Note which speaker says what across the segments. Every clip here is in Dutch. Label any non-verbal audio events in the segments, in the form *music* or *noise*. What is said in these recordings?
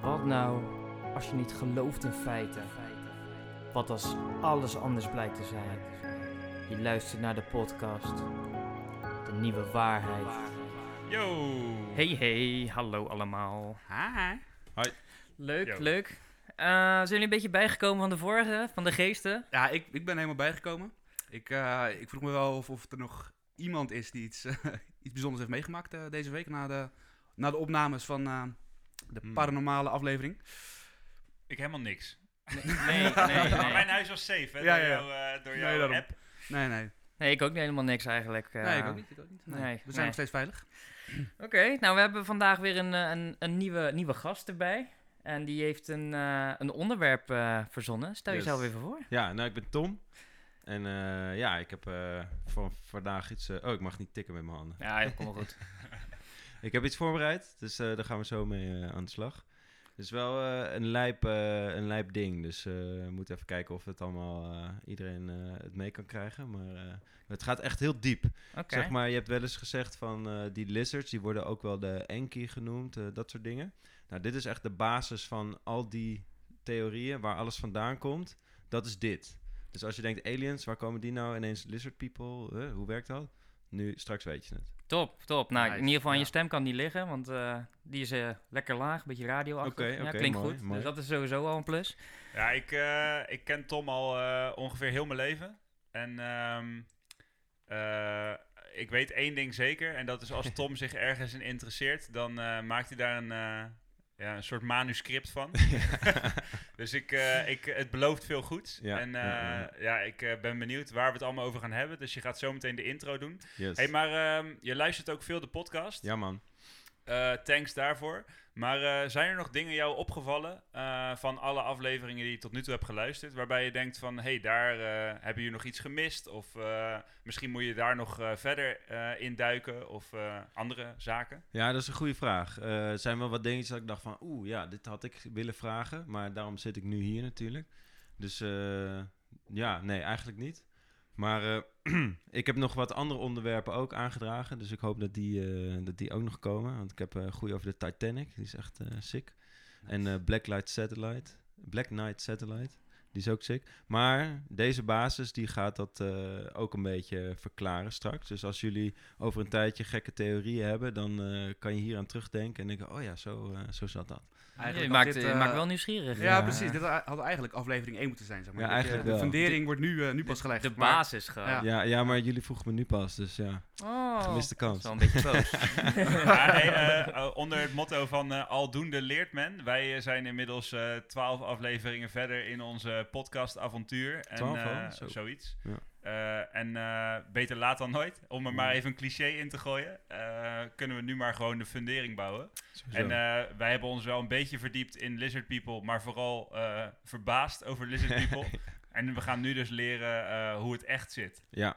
Speaker 1: Wat nou als je niet gelooft in feiten? Wat als alles anders blijkt te zijn? Je luistert naar de podcast. De nieuwe waarheid.
Speaker 2: Yo!
Speaker 1: Hey hey, hallo allemaal.
Speaker 2: Hi.
Speaker 1: Leuk,
Speaker 2: Yo.
Speaker 1: leuk. Eh, zijn jullie een beetje bijgekomen van de vorige, van de geesten?
Speaker 2: Ja, ik, ik ben helemaal bijgekomen. Ik, eh, ik vroeg me wel of, of er nog iemand is die iets, *laughs* eh, iets bijzonders heeft meegemaakt eh, deze week na de, na de opnames van eh, de
Speaker 3: Hmm.
Speaker 2: paranormale aflevering.
Speaker 3: Ik helemaal niks. *laughs*
Speaker 1: Nee,
Speaker 2: *laughs*
Speaker 1: nee, nee.
Speaker 3: Mijn huis was safe, hè?
Speaker 2: Ja,
Speaker 3: door,
Speaker 2: ja.
Speaker 3: Jouw, eh, door
Speaker 2: Nee,
Speaker 3: jouw
Speaker 2: daarom.
Speaker 3: app.
Speaker 2: Nee, nee.
Speaker 1: Nee, ik ook helemaal niks eigenlijk. eh.
Speaker 2: Nee, ik ook niet. Ik ook niet. Nee.
Speaker 1: nee,
Speaker 2: we zijn
Speaker 1: nee.
Speaker 2: nog steeds veilig.
Speaker 1: Oké, nou we hebben vandaag weer een, eh, een, een nieuwe, nieuwe gast erbij. En die heeft een, eh, een onderwerp eh, verzonnen. Stel
Speaker 3: Yes.
Speaker 1: jezelf even voor.
Speaker 4: Ja, nou, ik ben Tom. En eh, ja, ik heb eh, van vandaag iets... eh, oh, ik mag niet tikken met mijn handen.
Speaker 1: Ja, dat komt wel goed.
Speaker 4: Ik heb iets voorbereid, dus eh, daar gaan we zo mee eh, aan de slag. Het is wel eh, een, lijp, eh, een lijp ding, dus eh, we moeten even kijken of het allemaal eh, iedereen eh, het mee kan krijgen. Maar eh, het gaat echt heel diep.
Speaker 1: Oké.
Speaker 4: Zeg maar, je hebt wel eens gezegd van eh, die lizards, die worden ook wel de Enki genoemd, eh, dat soort dingen. Nou, dit is echt de basis van al die theorieën, waar alles vandaan komt. Dat is dit. Dus als je denkt, aliens, waar komen die nou ineens? Lizard people, eh, hoe werkt dat? Nu, straks
Speaker 3: *laughs*
Speaker 4: weet je het.
Speaker 1: Top, top. Nou,
Speaker 2: Nice,
Speaker 1: in ieder geval aan
Speaker 2: ja.
Speaker 1: je stem kan die liggen, want eh, die is eh, lekker laag, een beetje radioachtig.
Speaker 4: Oké,
Speaker 1: ja,
Speaker 4: oké,
Speaker 1: klinkt
Speaker 4: mooi,
Speaker 1: goed.
Speaker 4: mooi.
Speaker 1: Dus dat is sowieso al een plus.
Speaker 3: Ja, ik, eh, ik ken Tom al eh, ongeveer heel mijn leven. En ehm, eh, ik weet één ding zeker. En dat is
Speaker 2: *laughs*
Speaker 3: als Tom zich ergens in interesseert, dan eh, maakt hij daar een, eh, ja, een soort manuscript van. dus ik, eh, ik, het belooft veel goed.
Speaker 4: Ja,
Speaker 3: en eh,
Speaker 4: ja,
Speaker 3: ja,
Speaker 4: ja.
Speaker 3: ik eh, ben benieuwd waar we het allemaal over gaan hebben. Dus je gaat zo meteen de intro doen.
Speaker 4: Yes.
Speaker 3: hey, maar ehm, je luistert ook veel de podcast.
Speaker 4: Ja man.
Speaker 3: Eh, thanks daarvoor. Maar eh, zijn er nog dingen jou opgevallen eh, van alle afleveringen die je tot nu toe hebt geluisterd, waarbij je denkt van, hé, hey, daar eh, hebben jullie nog iets gemist? Of eh, misschien moet je daar nog eh, verder eh, in duiken of eh, andere zaken?
Speaker 4: Ja, dat is een goede vraag. Eh, Er zijn wel wat dingetjes dat ik dacht van, oeh, ja, dit had ik willen vragen. Maar daarom zit ik nu hier natuurlijk. Dus eh, ja, nee, eigenlijk niet. Maar eh, *clears throat* ik heb nog wat andere onderwerpen ook aangedragen. Dus ik hoop dat die, eh, dat die ook nog komen. Want ik heb eh goed over de Titanic. Die is echt eh, sick. En eh Black Light Satellite. Black Knight Satellite. Die is ook sick. Maar deze basis die gaat dat eh, ook een beetje verklaren straks. Dus als jullie over een tijdje gekke theorieën hebben, dan eh, kan je hier aan terugdenken en denken, oh ja, zo, eh, zo zat dat.
Speaker 1: je
Speaker 2: had
Speaker 1: maakt,
Speaker 2: dit,
Speaker 1: je
Speaker 2: eh,
Speaker 1: maakt wel nieuwsgierig.
Speaker 2: Ja,
Speaker 4: Ja.
Speaker 2: precies. Dit had eigenlijk aflevering 1 moeten zijn, zeg maar.
Speaker 4: Ja,
Speaker 2: Dat je-
Speaker 4: eigenlijk
Speaker 2: de
Speaker 4: wel.
Speaker 2: fundering wordt nu, eh, nu pas gelegd.
Speaker 1: De
Speaker 2: maar- *laughs*
Speaker 1: basis gewoon.
Speaker 2: Ja.
Speaker 4: Ja, ja, maar jullie vroegen me nu pas, dus ja,
Speaker 1: Ah. Oh,
Speaker 4: gemiste
Speaker 1: dat is
Speaker 4: kans.
Speaker 1: wel een beetje boos.
Speaker 3: *laughs* Ja, hey, eh, eh, onder het motto van eh, aldoende leert men. Wij eh, zijn inmiddels twaalf afleveringen verder in onze podcastavontuur. En,
Speaker 4: 12 al?
Speaker 3: eh,
Speaker 4: oh, Zo.
Speaker 3: Zoiets.
Speaker 4: Ja.
Speaker 3: Eh, en eh, beter laat dan nooit. Om er maar even een cliché in te gooien. eh, kunnen we nu maar gewoon de fundering bouwen. En eh, wij hebben ons wel een beetje verdiept in Lizard People. Maar vooral eh, verbaasd over
Speaker 4: *laughs*
Speaker 3: Lizard People. en we gaan nu dus leren eh, hoe het echt zit.
Speaker 4: ja,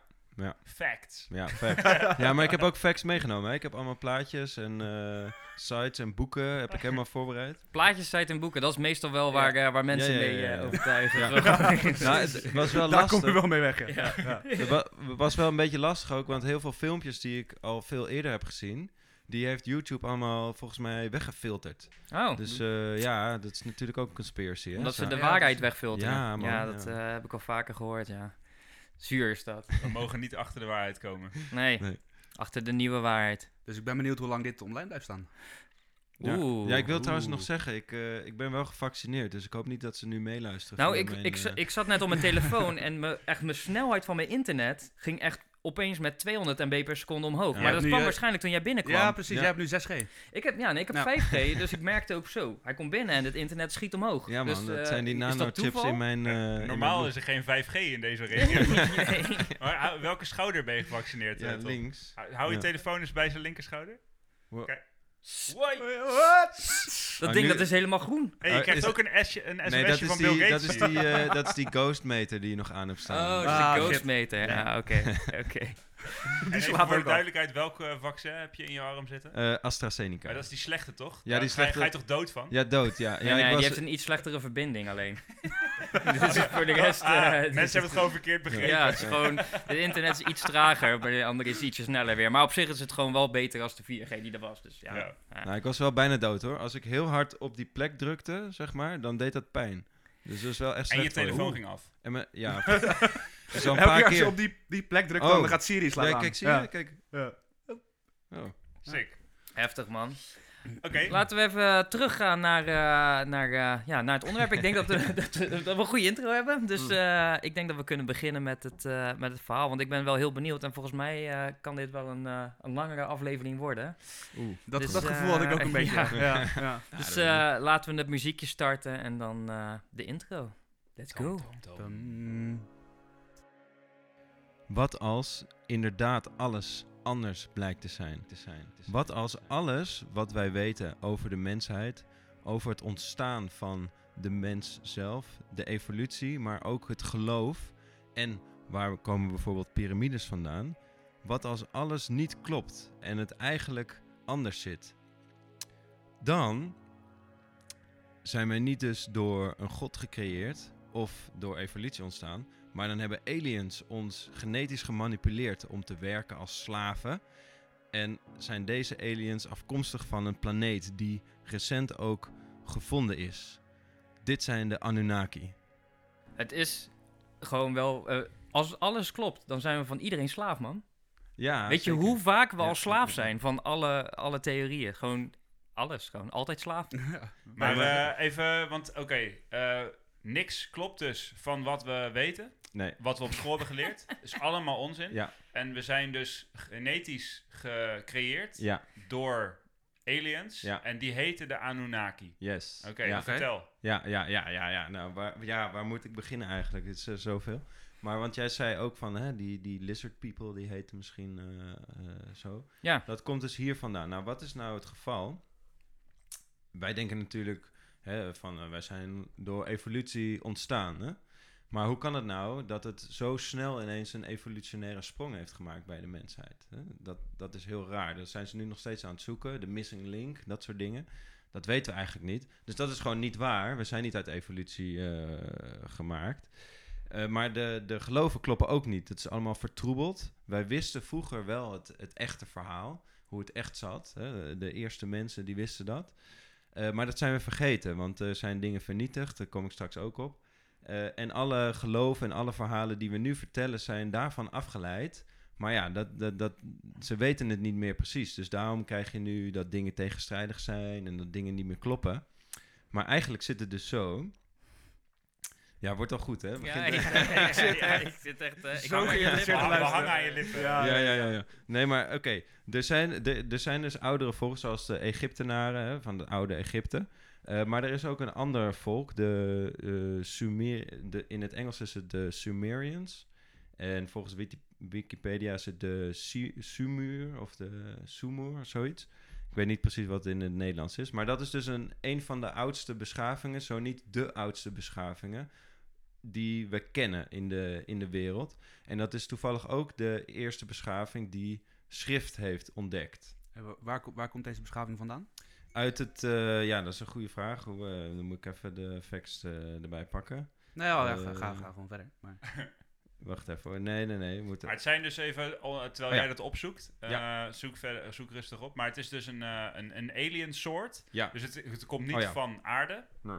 Speaker 3: Facts.
Speaker 4: ja,
Speaker 2: *laughs*
Speaker 4: facts. ja, maar ik heb ook facts meegenomen. Hè. Ik heb allemaal plaatjes en eh, sites en boeken, heb ik helemaal
Speaker 2: *laughs*
Speaker 4: voorbereid.
Speaker 1: Plaatjes, site en boeken, dat is meestal wel waar, eh, waar mensen
Speaker 4: Ja, ja, ja,
Speaker 1: mee eh,
Speaker 4: ja.
Speaker 1: overtuigen.
Speaker 4: Ja. *laughs* Nou, het, was
Speaker 2: *laughs*
Speaker 4: wel
Speaker 2: Daar kom
Speaker 4: lastig.
Speaker 2: je wel mee weg, ja.
Speaker 4: Het wa- was wel een beetje lastig ook, want heel veel filmpjes die ik al veel eerder heb gezien, die heeft YouTube allemaal volgens mij weggefilterd.
Speaker 1: Oh,
Speaker 4: Dus eh, ja, dat is natuurlijk ook een conspiracy. Hè?
Speaker 1: omdat ze
Speaker 4: Zo.
Speaker 1: de
Speaker 2: Ja,
Speaker 1: waarheid
Speaker 2: precies.
Speaker 1: wegfilteren.
Speaker 4: Ja, man,
Speaker 1: dat
Speaker 4: ja.
Speaker 1: eh, heb ik al vaker gehoord, ja. Zuur is dat.
Speaker 3: We mogen niet achter de waarheid komen.
Speaker 1: Nee,
Speaker 4: Nee.
Speaker 1: achter de nieuwe waarheid.
Speaker 2: Dus ik ben benieuwd hoe lang dit online blijft staan.
Speaker 4: Ja.
Speaker 1: Oeh.
Speaker 4: ja, ik wil trouwens
Speaker 2: Oeh.
Speaker 4: nog zeggen, ik, eh, ik ben wel gevaccineerd, dus ik hoop niet dat ze nu meeluisteren.
Speaker 1: Nou,
Speaker 4: via
Speaker 1: ik,
Speaker 4: mijn,
Speaker 1: ik, za-
Speaker 4: eh,
Speaker 1: ik zat net op mijn
Speaker 4: *laughs*
Speaker 1: telefoon en me, echt mijn snelheid van mijn internet ging echt opeens met 200 MB per seconde omhoog.
Speaker 4: Ja.
Speaker 1: maar dat
Speaker 2: Nu,
Speaker 1: kwam
Speaker 2: eh,
Speaker 1: waarschijnlijk toen jij binnenkwam.
Speaker 2: Ja, precies.
Speaker 4: Ja.
Speaker 2: Jij hebt nu 6G.
Speaker 1: ik heb, ja, nee, ik heb
Speaker 2: Nou.
Speaker 1: 5G,
Speaker 4: *laughs*
Speaker 1: dus ik merkte ook zo. Hij komt binnen en het internet schiet omhoog.
Speaker 4: Ja man,
Speaker 1: dus,
Speaker 4: dat
Speaker 1: eh,
Speaker 4: zijn die
Speaker 1: is dat
Speaker 4: nanochips
Speaker 1: toeval?
Speaker 4: in mijn... eh, in mijn
Speaker 3: Normaal
Speaker 4: bloed.
Speaker 3: is er geen 5G in deze
Speaker 4: *laughs*
Speaker 3: regio.
Speaker 1: Nee.
Speaker 2: *laughs*
Speaker 3: Maar aan welke schouder ben je gevaccineerd? eh,
Speaker 4: Ja,
Speaker 3: Tom?
Speaker 4: links.
Speaker 3: Hou hou je
Speaker 4: Ja.
Speaker 3: telefoon eens bij zijn linkerschouder?
Speaker 4: Wow.
Speaker 3: Kijk.
Speaker 1: Dat
Speaker 4: Ah,
Speaker 1: ding,
Speaker 4: nu-
Speaker 1: dat is helemaal groen.
Speaker 3: Hey, je
Speaker 4: Eh,
Speaker 3: krijgt
Speaker 4: is-
Speaker 3: ook een, S een sms'je
Speaker 4: Nee, dat is,
Speaker 3: van
Speaker 4: die,
Speaker 3: Bill Gates.
Speaker 4: dat, is
Speaker 3: *laughs*
Speaker 4: die, eh, dat is die ghostmeter die je nog aan hebt staan.
Speaker 1: Oh,
Speaker 2: is Ah,
Speaker 1: de
Speaker 2: shit.
Speaker 1: ghostmeter. Ja, Ah, oké. oké.
Speaker 3: die
Speaker 2: slaat
Speaker 3: voor
Speaker 2: ook
Speaker 3: de
Speaker 2: af.
Speaker 3: duidelijkheid, welk eh, vaccin heb je in je arm zitten?
Speaker 4: Eh, AstraZeneca.
Speaker 3: Maar dat is die slechte, toch?
Speaker 4: Ja, die
Speaker 3: Daar ga je- *laughs*
Speaker 4: slechte-
Speaker 3: Ga je toch dood van?
Speaker 4: Ja, dood, ja. ja
Speaker 1: Nee, nee,
Speaker 4: ik
Speaker 1: die
Speaker 4: was...
Speaker 1: heeft een iets slechtere verbinding alleen. *laughs* dus voor de rest... eh,
Speaker 3: Ah,
Speaker 1: dus
Speaker 3: mensen hebben het gewoon verkeerd begrepen.
Speaker 1: Ja, het is gewoon... Het internet is iets trager, maar de andere is ietsje sneller weer. Maar op zich is het gewoon wel beter als de 4G die er was. Dus ja.
Speaker 3: Ja.
Speaker 1: Ja.
Speaker 4: Nou, ik was wel bijna dood hoor. Als ik heel hard op die plek drukte, zeg maar, dan deed dat pijn. Dus dat is wel echt
Speaker 3: En je
Speaker 4: slecht voor
Speaker 3: telefoon
Speaker 4: Oeh.
Speaker 3: ging af.
Speaker 4: En mijn-
Speaker 3: *laughs*
Speaker 4: ja. dus wel een
Speaker 2: Elke
Speaker 4: paar
Speaker 2: keer als je
Speaker 4: keer.
Speaker 2: op die, die plek drukt,
Speaker 4: Oh.
Speaker 2: dan gaat Siri slaan
Speaker 4: Ja,
Speaker 2: aan.
Speaker 4: kijk, zie je?
Speaker 2: Ja.
Speaker 4: Kijk.
Speaker 2: Ja.
Speaker 4: Oh.
Speaker 3: Sick.
Speaker 1: Heftig, man.
Speaker 3: Oké.
Speaker 1: Laten we even teruggaan naar, eh, naar, eh, ja, naar het onderwerp. Ik denk dat *laughs* we, dat, we- dat we een goede intro hebben. Dus eh, ik denk dat we kunnen beginnen met het, eh, met het verhaal. Want ik ben wel heel benieuwd. En volgens mij eh, kan dit wel een, eh, een langere aflevering worden.
Speaker 4: Oeh.
Speaker 2: Dat,
Speaker 1: Dus,
Speaker 2: dat
Speaker 1: eh,
Speaker 2: gevoel had ik ook een
Speaker 4: *laughs*
Speaker 2: beetje.
Speaker 1: ja.
Speaker 2: Ja. Ja, ja.
Speaker 1: dus
Speaker 4: dat
Speaker 1: eh, laten we het muziekje starten en dan eh, de intro. Let's go.
Speaker 2: Dan-
Speaker 4: Wat als inderdaad alles anders blijkt te zijn? Te zijn, te zijn. Wat als alles wat wij weten over de mensheid, over het ontstaan van de mens zelf, de evolutie, maar ook het geloof en waar komen bijvoorbeeld piramides vandaan? Wat als alles niet klopt en het eigenlijk anders zit? Dan zijn wij niet dus door een god gecreëerd of door evolutie ontstaan. Maar dan hebben aliens ons genetisch gemanipuleerd om te werken als slaven. En zijn deze aliens afkomstig van een planeet die recent ook gevonden is. Dit zijn de Anunnaki.
Speaker 1: Het is gewoon wel... eh, als alles klopt, dan zijn we van iedereen slaaf, man.
Speaker 4: Ja,
Speaker 1: Weet je
Speaker 4: zeker.
Speaker 1: hoe vaak we
Speaker 4: Ja,
Speaker 1: al slaaf
Speaker 4: zeker.
Speaker 1: zijn van alle, alle theorieën? Gewoon alles. Gewoon altijd slaaf.
Speaker 3: Maar
Speaker 2: Wij-
Speaker 3: eh, even, want oké, eh, niks klopt dus van wat we weten,
Speaker 4: Nee.
Speaker 3: wat we op school hebben geleerd. is allemaal onzin.
Speaker 4: Ja.
Speaker 3: En we zijn dus genetisch gecreëerd
Speaker 4: Ja,
Speaker 3: door aliens
Speaker 4: Ja.
Speaker 3: en die heten de Anunnaki.
Speaker 4: yes.
Speaker 3: Oké, nou,
Speaker 4: ja.
Speaker 3: vertel.
Speaker 4: Ja, ja, ja, ja, ja. Nou, waar, ja, waar moet ik beginnen eigenlijk? Het is eh, zoveel. Maar want jij zei ook van, hè, die, die lizard people, die heten misschien eh, eh, zo.
Speaker 1: Ja.
Speaker 4: Dat komt dus hier vandaan. Nou, wat is nou het geval? Wij denken natuurlijk hè, van, eh, wij zijn door evolutie ontstaan, hè? Maar hoe kan het nou dat het zo snel ineens een evolutionaire sprong heeft gemaakt bij de mensheid? Hè? Dat, dat is heel raar. Dat zijn ze nu nog steeds aan het zoeken. De missing link, dat soort dingen. Dat weten we eigenlijk niet. Dus dat is gewoon niet waar. We zijn niet uit evolutie eh, gemaakt. Eh, maar de, de geloven kloppen ook niet. Het is allemaal vertroebeld. Wij wisten vroeger wel het, het echte verhaal. Hoe het echt zat. Hè? De eerste mensen die wisten dat. Eh, maar dat zijn we vergeten. Want er zijn dingen vernietigd. Daar kom ik straks ook op. Eh, en alle geloven en alle verhalen die we nu vertellen zijn daarvan afgeleid. Maar ja, dat, dat, dat, ze weten het niet meer precies. Dus daarom krijg je nu dat dingen tegenstrijdig zijn en dat dingen niet meer kloppen. Maar eigenlijk zit het dus zo. Ja, wordt al goed, hè? Begint- *laughs*
Speaker 1: ik zit echt... Ik zit echt eh, ik
Speaker 2: Zo
Speaker 1: hang aan je
Speaker 2: geïrriteerd
Speaker 1: lippen.
Speaker 3: We, we
Speaker 2: te luisteren.
Speaker 3: hangen aan je lippen.
Speaker 2: Ja,
Speaker 4: ja, ja, ja, ja. Nee, maar oké. Er, zijn, er, er zijn dus oudere volken, zoals de Egyptenaren hè, van de oude Egypte. Eh, maar er is ook een ander volk, de, eh, Sumer, de, in het Engels is het de Sumerians. En volgens Wiki- Wikipedia is het de Su- Sumur of de Sumur, zoiets. Ik weet niet precies wat het in het Nederlands is. Maar dat is dus een, een van de oudste beschavingen, zo niet de oudste beschavingen, die we kennen in de, in de wereld. En dat is toevallig ook de eerste beschaving die schrift heeft ontdekt.
Speaker 2: Eh, wa- Waar, ko- waar komt deze beschaving vandaan?
Speaker 4: Uit het, eh, ja, dat is een goede vraag. Hoe, eh, dan moet ik even de facts eh, erbij pakken.
Speaker 2: Nou ja,
Speaker 4: Eh,
Speaker 2: ga, ga, ga gewoon verder. Maar,
Speaker 4: Wacht even hoor. Nee, nee, nee. we moeten-
Speaker 3: Maar het zijn dus even, oh, terwijl
Speaker 4: Oh, ja.
Speaker 3: jij dat opzoekt, eh, zoek, verder, zoek rustig op. Maar het is dus een, eh, een, een alien soort.
Speaker 4: Ja.
Speaker 3: Dus het, het komt niet
Speaker 4: Oh, ja.
Speaker 3: van aarde.
Speaker 4: Nee.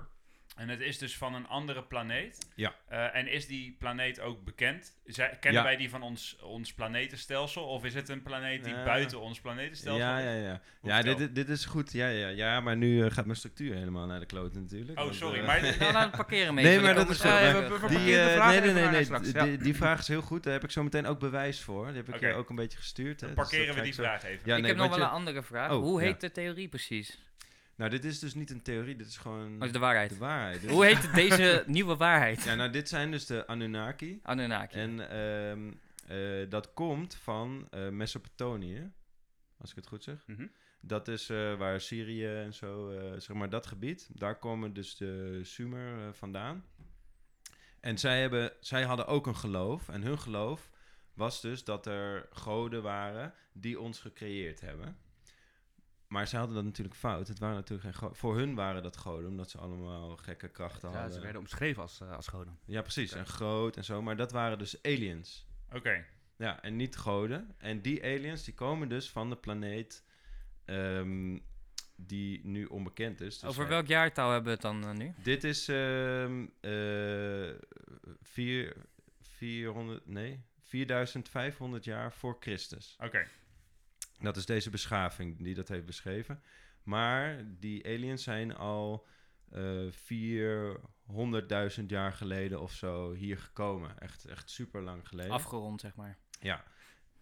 Speaker 3: En het is dus van een andere planeet.
Speaker 4: Ja.
Speaker 3: Eh, en is die planeet ook bekend? Zij, kennen
Speaker 4: Ja.
Speaker 3: wij die van ons, ons planetenstelsel? Of is het een planeet die
Speaker 4: Eh,
Speaker 3: buiten ons planetenstelsel
Speaker 4: Ja,
Speaker 3: is?
Speaker 4: ja, ja.
Speaker 3: Hoe
Speaker 4: Ja, dit,
Speaker 3: vertel?
Speaker 4: dit- dit is goed. Ja, ja, ja. Maar nu eh, gaat mijn structuur helemaal naar de kloten natuurlijk.
Speaker 3: Oh,
Speaker 4: want,
Speaker 3: sorry.
Speaker 4: eh, *laughs*
Speaker 3: maar
Speaker 1: Nou, laat het parkeren mee.
Speaker 4: Nee,
Speaker 1: want
Speaker 4: maar
Speaker 1: die
Speaker 4: dat
Speaker 1: komen
Speaker 4: is
Speaker 1: zo
Speaker 4: goed.
Speaker 1: terug.
Speaker 2: Eh, we- we- we-
Speaker 4: Die,
Speaker 2: Parkeer de
Speaker 4: eh,
Speaker 2: vraag
Speaker 4: nee,
Speaker 2: even
Speaker 4: nee, nee,
Speaker 2: naar
Speaker 4: nee.
Speaker 2: straks,
Speaker 4: d-
Speaker 2: ja.
Speaker 4: die, die vraag is heel goed. Daar heb ik zo meteen ook bewijs voor. Die heb ik
Speaker 3: Oké.
Speaker 4: je ook een beetje gestuurd. Hè?
Speaker 3: Dan
Speaker 4: Dus dat
Speaker 3: parkeren
Speaker 4: ga
Speaker 3: we
Speaker 4: ik
Speaker 3: die
Speaker 4: zo-
Speaker 3: vraag even.
Speaker 4: Ja,
Speaker 1: ik
Speaker 4: nee,
Speaker 1: heb nog wel
Speaker 4: want je-
Speaker 1: een andere vraag.
Speaker 4: Oh,
Speaker 1: Hoe heet
Speaker 4: ja.
Speaker 1: de theorie precies?
Speaker 4: Nou, dit is dus niet een theorie. Dit is gewoon
Speaker 1: Dat Oh, is de waarheid.
Speaker 4: de waarheid. Dus- Dit
Speaker 1: Hoe
Speaker 4: is-
Speaker 1: heet deze nieuwe waarheid?
Speaker 4: Ja, nou, dit zijn dus de Anunnaki.
Speaker 1: Anunnaki.
Speaker 4: En ehm, eh, dat komt van eh, Mesopotamië. Als ik het goed zeg.
Speaker 2: Mhm.
Speaker 4: Dat is eh, waar Syrië en zo, eh, zeg maar dat gebied. Daar komen dus de Sumer eh, vandaan. En zij, hebben, zij hadden ook een geloof. En hun geloof was dus dat er goden waren die ons gecreëerd hebben. Maar ze hadden dat natuurlijk fout. Het waren natuurlijk geen go- Voor hun waren dat goden, omdat ze allemaal gekke krachten
Speaker 2: Ja,
Speaker 4: hadden.
Speaker 2: ze werden omschreven als, eh, als goden.
Speaker 4: Ja, precies. En groot en zo. Maar dat waren dus aliens.
Speaker 3: Oké.
Speaker 4: Ja, en niet goden. En die aliens die komen dus van de planeet ehm, die nu onbekend is. Dus
Speaker 1: Over
Speaker 4: hij-
Speaker 1: welk jaartal hebben we het dan eh, nu?
Speaker 4: Dit is ehm eh, vier, 400, nee, 4500 jaar voor Christus.
Speaker 3: Oké.
Speaker 4: Dat is deze beschaving die dat heeft beschreven. Maar die aliens zijn al eh 400.000 jaar geleden of zo hier gekomen. Echt, echt super lang geleden.
Speaker 1: Afgerond, zeg maar.
Speaker 4: ja.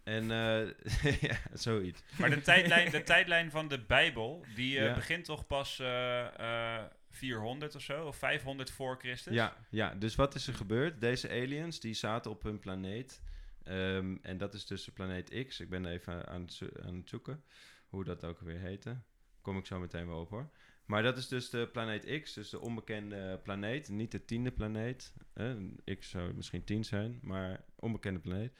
Speaker 4: En eh, *laughs* ja, zoiets.
Speaker 3: Maar de tijdlijn, de tijdlijn van de Bijbel, die eh,
Speaker 4: Ja.
Speaker 3: begint toch pas eh, eh, 400 of zo, of 500 voor Christus?
Speaker 4: Ja, ja, dus wat is er gebeurd? Deze aliens die zaten op hun planeet. ehm, en dat is dus de planeet X. Ik ben even aan het, zo- aan het zoeken hoe dat ook weer heette. Kom ik zo meteen wel op hoor. Maar dat is dus de planeet X, dus de onbekende planeet. Niet de tiende planeet. Eh, X zou misschien tien zijn, maar onbekende planeet.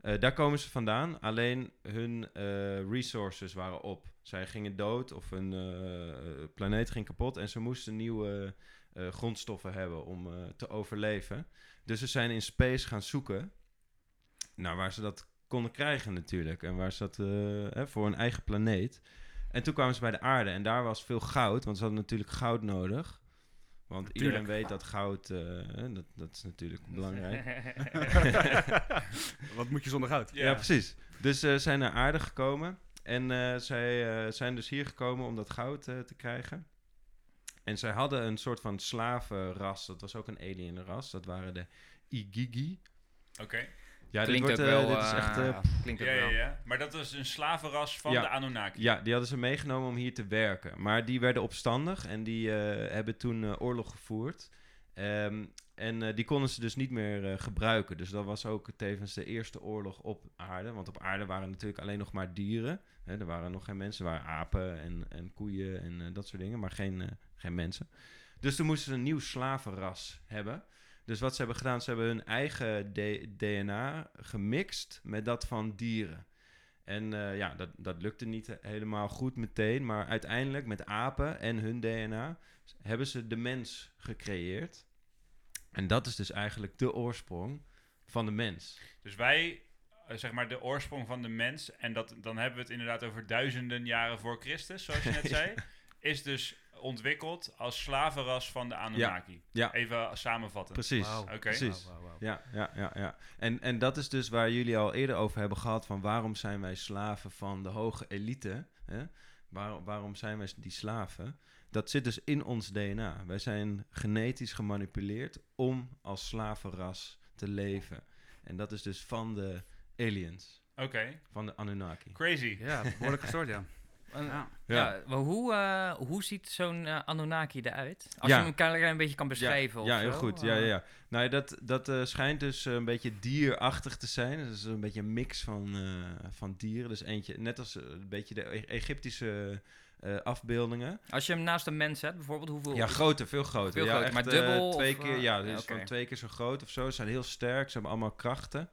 Speaker 4: Eh, daar komen ze vandaan, alleen hun eh, resources waren op. Zij gingen dood of hun eh, planeet ging kapot en ze moesten nieuwe eh, grondstoffen hebben om eh, te overleven. Dus ze zijn in space gaan zoeken naar waar ze dat konden krijgen natuurlijk. En waar ze dat eh, hè, voor hun eigen planeet. En toen kwamen ze bij de aarde en daar was veel goud, want ze hadden natuurlijk goud nodig. Want iedereen weet dat goud, eh, hè, dat, dat is natuurlijk
Speaker 1: *laughs*
Speaker 4: belangrijk.
Speaker 2: *laughs* Wat moet je zonder goud?
Speaker 3: Ja.
Speaker 4: Ja, precies. Dus ze zijn naar aarde gekomen. En eh, zij eh, zijn dus hier gekomen om dat goud eh, te krijgen. En zij hadden een soort van slavenras. Dat was ook een alienras. Dat waren de Igigi.
Speaker 3: Oké.
Speaker 4: Ja,
Speaker 1: klinkt
Speaker 4: dit, wordt,
Speaker 1: ook
Speaker 4: eh,
Speaker 1: wel.
Speaker 4: dit is echt...
Speaker 1: eh,
Speaker 4: eh,
Speaker 1: klinkt ook
Speaker 3: Ja, ja,
Speaker 1: wel.
Speaker 3: ja. Maar dat was een slavenras van
Speaker 4: Ja.
Speaker 3: de Anunnaki.
Speaker 4: ja, die hadden ze meegenomen om hier te werken. Maar die werden opstandig en die eh, hebben toen eh, oorlog gevoerd. Ehm, en eh, die konden ze dus niet meer eh, gebruiken. Dus dat was ook tevens de eerste oorlog op aarde. Want op aarde waren natuurlijk alleen nog maar dieren. Hè, er waren nog geen mensen, er waren apen en, en koeien en eh, dat soort dingen, maar geen, eh, geen mensen. Dus toen moesten ze een nieuw slavenras hebben. Dus wat ze hebben gedaan, ze hebben hun eigen D- DNA gemixt met dat van dieren. En eh, ja, dat, dat lukte niet he- helemaal goed meteen, maar uiteindelijk met apen en hun DNA s- hebben ze de mens gecreëerd. En dat is dus eigenlijk de oorsprong van de mens.
Speaker 3: Dus wij, eh, zeg maar, de oorsprong van de mens, en dat, dan hebben we het inderdaad over duizenden jaren voor Christus, zoals je
Speaker 4: *laughs*
Speaker 3: net zei, is dus ontwikkeld als slavenras van de Anunnaki.
Speaker 4: ja.
Speaker 3: Even samenvatten.
Speaker 4: Precies.
Speaker 2: Wauw.
Speaker 3: Oké.
Speaker 4: Precies.
Speaker 2: Wauw, wauw, wauw.
Speaker 4: Ja, ja, ja, ja. En, en dat is dus waar jullie al eerder over hebben gehad: van waarom zijn wij slaven van de hoge elite? Hè? Waar, waarom zijn wij die slaven? Dat zit dus in ons DNA. Wij zijn genetisch gemanipuleerd om als slavenras te leven. En dat is dus van de aliens,
Speaker 3: Oké.
Speaker 4: van de Anunnaki.
Speaker 3: Crazy.
Speaker 2: Ja, behoorlijk gestoord, ja.
Speaker 1: En,
Speaker 2: ja.
Speaker 1: Ja, maar hoe, eh, hoe ziet zo'n eh, Anunnaki eruit? Als
Speaker 4: Ja.
Speaker 1: je hem een klein klein beetje kan beschrijven.
Speaker 4: Ja,
Speaker 1: of
Speaker 4: ja heel
Speaker 1: zo,
Speaker 4: goed.
Speaker 1: eh.
Speaker 4: Ja, ja, ja. Nou, ja, dat, dat eh, schijnt dus eh, een beetje dierachtig te zijn. Dus dat is een beetje een mix van, eh, van dieren. Dus eentje, net als eh, een beetje de E- Egyptische eh, afbeeldingen.
Speaker 1: Als je hem naast een mens zet, bijvoorbeeld, hoeveel?
Speaker 4: Ja, groter, veel groter.
Speaker 1: Veel
Speaker 4: ja,
Speaker 1: groter, maar
Speaker 4: eh,
Speaker 1: dubbel
Speaker 4: twee
Speaker 1: of,
Speaker 4: keer,
Speaker 1: eh,
Speaker 4: ja,
Speaker 1: ja,
Speaker 4: dus
Speaker 1: oké.
Speaker 4: van twee keer zo groot of zo. Ze zijn heel sterk, ze hebben allemaal krachten.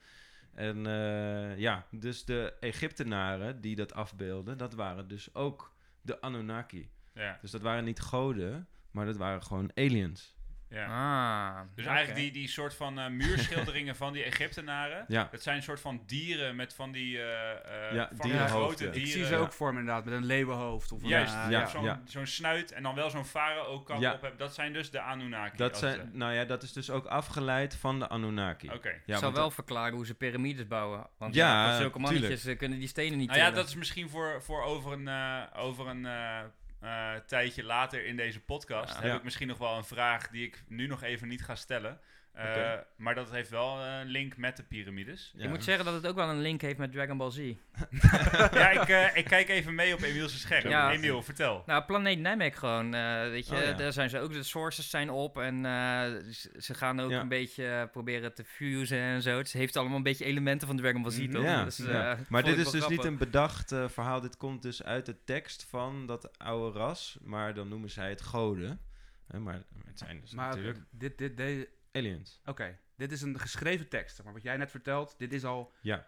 Speaker 4: En eh, ja, dus de Egyptenaren die dat afbeelden, dat waren dus ook de Anunnaki.
Speaker 3: Ja.
Speaker 4: Dus dat waren niet goden, maar dat waren gewoon aliens.
Speaker 3: ja.
Speaker 1: Ah,
Speaker 3: Dus
Speaker 1: oké.
Speaker 3: eigenlijk die, die soort van eh, muurschilderingen van die Egyptenaren.
Speaker 4: Ja,
Speaker 3: Dat zijn een soort van dieren met van die eh, eh,
Speaker 4: Ja,
Speaker 3: van
Speaker 4: dierenhoofden.
Speaker 3: grote
Speaker 4: Ik
Speaker 3: dieren.
Speaker 2: Ik zie ze ook voor me inderdaad, met een leeuwenhoofd. Of een,
Speaker 3: eh, Juist,
Speaker 2: eh,
Speaker 4: ja.
Speaker 3: zo'n zo'n snuit en dan wel zo'n farao-kap
Speaker 4: Ja.
Speaker 3: op hebben. Dat zijn dus de Anunnaki.
Speaker 4: dat
Speaker 3: als
Speaker 4: zijn,
Speaker 3: het,
Speaker 4: nou ja, dat is dus ook afgeleid van de Anunnaki.
Speaker 3: eh, Oké.
Speaker 4: Ja,
Speaker 1: zou
Speaker 4: want
Speaker 1: wel verklaren hoe ze piramides bouwen. Want
Speaker 4: Ja,
Speaker 1: ja, van zulke
Speaker 4: tuurlijk.
Speaker 1: mannetjes eh, kunnen die stenen niet
Speaker 3: Nou ja,
Speaker 1: tillen.
Speaker 3: dat is misschien voor, voor over een, eh, over een eh, eh, tijdje later in deze podcast.
Speaker 1: Ja.
Speaker 3: Heb
Speaker 4: Ja.
Speaker 3: ik misschien nog wel een vraag die ik nu nog even niet ga stellen. Eh,
Speaker 4: Oké.
Speaker 3: Maar dat heeft wel een link met de piramides.
Speaker 4: dat-
Speaker 1: Ik
Speaker 4: ja.
Speaker 1: moet zeggen dat het ook wel een link heeft met Dragon Ball Z.
Speaker 3: ja, ik, eh, ik kijk even mee op Emiel's scherm.
Speaker 1: Ja.
Speaker 3: Emiel,
Speaker 4: *laughs*
Speaker 3: vertel.
Speaker 1: Nou, planeet Namek gewoon, eh, weet je,
Speaker 4: Oh, ja.
Speaker 1: daar zijn ze ook, de sources zijn op en eh, z- ze gaan ook
Speaker 4: Ja.
Speaker 1: een beetje eh, proberen te fusen en zo. Het heeft allemaal een beetje elementen van Dragon Ball Z,
Speaker 2: Mhm.
Speaker 1: toch?
Speaker 4: Mm, Ja,
Speaker 1: Dus, eh,
Speaker 4: ja.
Speaker 1: vond
Speaker 4: maar
Speaker 1: ik
Speaker 4: dit
Speaker 1: wel
Speaker 4: is dus niet
Speaker 1: grappig.
Speaker 4: een bedacht eh, verhaal. Dit komt dus uit de tekst van dat oude ras. Maar dan noemen zij het goden. Hè, maar het zijn dus
Speaker 2: Maar
Speaker 4: natuurlijk
Speaker 2: dit, dit, deze-
Speaker 4: aliens.
Speaker 2: Oké, dit is een geschreven tekst. zeg Maar wat jij net vertelt, dit is al
Speaker 4: Ja.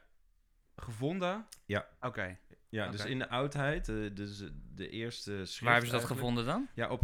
Speaker 2: Gevonden?
Speaker 4: Ja.
Speaker 2: Oké.
Speaker 4: Ja, dus
Speaker 2: Oké.
Speaker 4: in de oudheid, eh, dus eh, de eerste schrift
Speaker 1: Waar hebben ze dat
Speaker 4: eigenlijk.
Speaker 1: gevonden dan?
Speaker 4: Ja, op